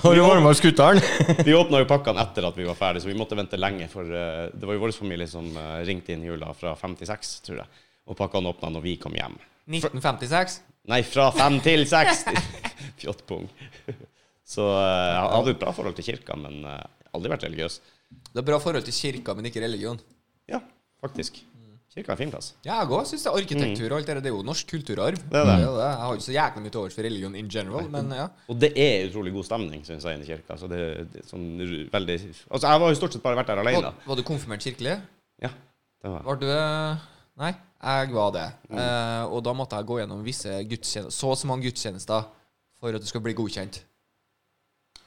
[SPEAKER 2] Har du varma skuteren?
[SPEAKER 3] Vi åpna jo pakkene etter at vi var ferdig, så vi måtte vente lenge. For eh, det var jo vår familie som eh, ringte inn jula fra fem til seks, tror jeg. Og pakkene åpna når vi kom hjem.
[SPEAKER 1] 1956?
[SPEAKER 3] Nei, fra fem til seks! Fjottpung. Så eh, jeg hadde et bra forhold til kirka, men eh, aldri vært religiøs.
[SPEAKER 1] Det er bra forhold til kirka, men ikke religion.
[SPEAKER 3] Ja, faktisk. Kirka er en fin plass.
[SPEAKER 1] Ja, jeg òg syns det. Arkitektur og alt det der, det er jo norsk kulturarv.
[SPEAKER 3] Det er det.
[SPEAKER 1] jo Jeg har ikke så jækla mye til overs for religion in general, men ja.
[SPEAKER 3] Og det er utrolig god stemning, syns jeg, inne i kirka. Så det, det er sånn ru- veldig Altså, jeg var jo stort sett bare vært der alene.
[SPEAKER 1] Var, var du konfirmert kirkelig?
[SPEAKER 3] Ja, det var.
[SPEAKER 1] Var du eh, Nei, jeg var det.
[SPEAKER 3] Mm.
[SPEAKER 1] Eh, og da måtte jeg gå gjennom visse gudstjenester, så og så mange gudstjenester for at du skal bli godkjent.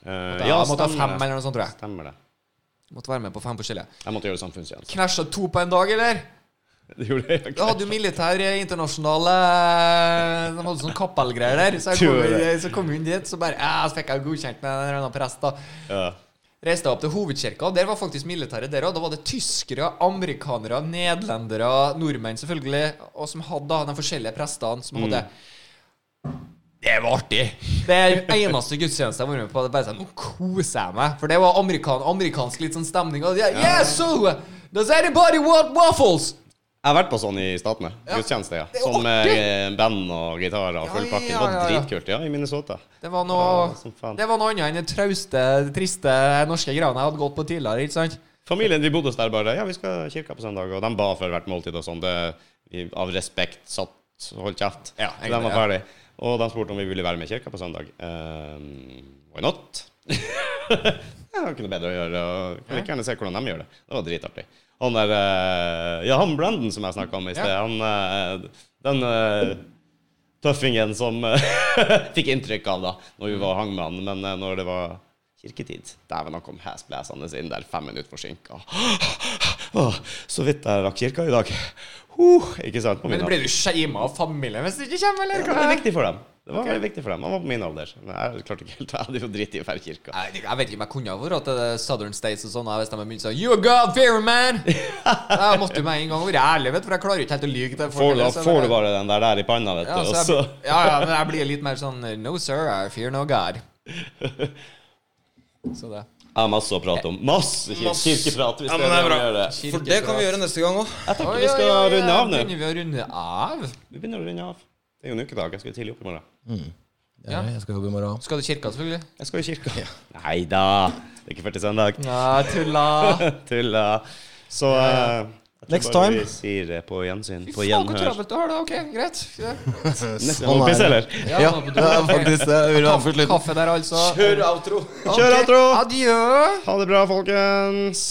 [SPEAKER 3] Uh,
[SPEAKER 1] Da måtte jeg ha fem eller noe sånt, tror jeg.
[SPEAKER 3] Stemmer det.
[SPEAKER 1] Måtte være med på fem forskjellige.
[SPEAKER 3] Jeg måtte gjøre samfunnstjeneste.
[SPEAKER 1] Knæsja to på en dag, eller?
[SPEAKER 3] Det gjorde jeg.
[SPEAKER 1] Da hadde jo militær eh, internasjonale eh, De hadde sånn kappelgreier der. Så jeg kom,
[SPEAKER 3] Gjorde
[SPEAKER 1] inn- så kom jeg inn dit, så bare ja, Så fikk jeg godkjent med en eller annen prest, da.
[SPEAKER 3] Ja.
[SPEAKER 1] Reiste jeg opp til hovedkirka, og der var faktisk militæret der òg. Da var det tyskere, amerikanere, nederlendere, nordmenn selvfølgelig, og som hadde da de forskjellige prestene som hadde
[SPEAKER 3] Mm.
[SPEAKER 1] Det var artig! Det er den eneste gudstjenesten jeg har vært med på. Det er bare sånn, Nå koser jeg meg. For det var amerikan, amerikansk litt sånn stemning. Og de, er, yeah, so, does anybody want waffles?
[SPEAKER 3] Jeg har vært på sånn i Statene. Gudstjeneste, ja.
[SPEAKER 1] Det er jo
[SPEAKER 3] Sånn med eh, band og gitarer og
[SPEAKER 1] Ja,
[SPEAKER 3] full pakke. Det
[SPEAKER 1] ja,
[SPEAKER 3] var
[SPEAKER 1] ja, ja.
[SPEAKER 3] dritkult. Ja, i Minnesota.
[SPEAKER 1] Det var
[SPEAKER 3] Ja,
[SPEAKER 1] noe,
[SPEAKER 3] som faen.
[SPEAKER 1] det var noe annet enn den trauste, triste norske greiene jeg hadde gått på tidligere. ikke sant?
[SPEAKER 3] Familien vi bodde hos der bare Ja, vi skal i kirka på søndag. Og de ba før hvert måltid og sånn. Det- vi- Av respekt satt holdt kjeft.
[SPEAKER 1] Ja,
[SPEAKER 3] Så
[SPEAKER 1] egentlig,
[SPEAKER 3] de var
[SPEAKER 1] ja.
[SPEAKER 3] ferdig. Og de spurte om vi ville være med i kirka på søndag. Um, why not? Jeg har ikke noe bedre å gjøre. Og kan ikke gjerne se hvordan de gjør det. Det var dritartig. Han der eh, Ja, han Brandon som jeg snakka om i sted, han eh, Den eh, tøffingen som eh, fikk inntrykk av da Når vi var hang med han, men eh, når det var kirketid Dæven, han kom hesblesende inn der fem minutter forsinka. Åh, så vidt jeg rakk kirka i dag. Huh, ikke sant? På min
[SPEAKER 1] Men
[SPEAKER 3] alder.
[SPEAKER 1] Blir du shama av familien hvis du ikke kommer, eller?
[SPEAKER 3] Det var viktig for dem. Det var veldig viktig for dem. Han var på min alder. Men jeg klarte ikke helt Jeg hadde jo dritt i å være i kirka.
[SPEAKER 1] Jeg, jeg vet ikke om jeg kunne ha vært til Southern States og sånn hvis de hadde begynt sånn You a god fear, man! Jeg måtte jo med en gang være ærlig, vet du, for jeg klarer jo ikke helt å lyve til
[SPEAKER 3] Får du, da
[SPEAKER 1] så-
[SPEAKER 3] får du bare altså. den der der i panna, vet du.
[SPEAKER 1] ja,
[SPEAKER 3] og
[SPEAKER 1] så
[SPEAKER 3] så
[SPEAKER 1] jeg, ja, ja, men jeg blir litt mer sånn No, sir, I fear no God. Så det.
[SPEAKER 3] Jeg har masse å prate om. Masse kir
[SPEAKER 2] Masse.
[SPEAKER 3] kirkeprat. Hvis
[SPEAKER 2] Ja,
[SPEAKER 3] det
[SPEAKER 2] men det
[SPEAKER 3] er
[SPEAKER 2] er
[SPEAKER 3] det vi
[SPEAKER 2] bra.
[SPEAKER 3] gjør det.
[SPEAKER 2] For det kan vi gjøre neste gang òg.
[SPEAKER 3] Jeg tenker
[SPEAKER 1] Oi,
[SPEAKER 3] vi skal
[SPEAKER 1] oi, oi,
[SPEAKER 3] runde av nå.
[SPEAKER 1] Begynner vi å runde av?
[SPEAKER 3] Vi begynner å runde av. Det er jo en ukedag. Jeg skal tidlig opp i morgen.
[SPEAKER 1] Ja.
[SPEAKER 2] Jeg skal jobbe i morgen.
[SPEAKER 1] Skal du i kirka, selvfølgelig?
[SPEAKER 3] Jeg skal i kirka. Nei da. Det er ikke før til søndag.
[SPEAKER 1] Ja, tulla.
[SPEAKER 3] Tulla. Så eh, jeg tror
[SPEAKER 2] Next
[SPEAKER 3] bare
[SPEAKER 2] time.
[SPEAKER 3] Vi sier eh, på gjensyn. På
[SPEAKER 1] Fy faen, hvor
[SPEAKER 3] gjenhør.
[SPEAKER 1] travelt du har det. Ok, greit. Ja.
[SPEAKER 3] Nesten må pisse, eller?
[SPEAKER 1] Ja,
[SPEAKER 2] Ja,
[SPEAKER 1] nå-
[SPEAKER 2] det er faktisk det. Jeg vil ha for slutten.
[SPEAKER 1] Kaffe der, altså.
[SPEAKER 2] Kjør outro.
[SPEAKER 1] Ok,
[SPEAKER 3] Kjør outro!
[SPEAKER 1] Adjø.
[SPEAKER 3] Ha det bra, folkens.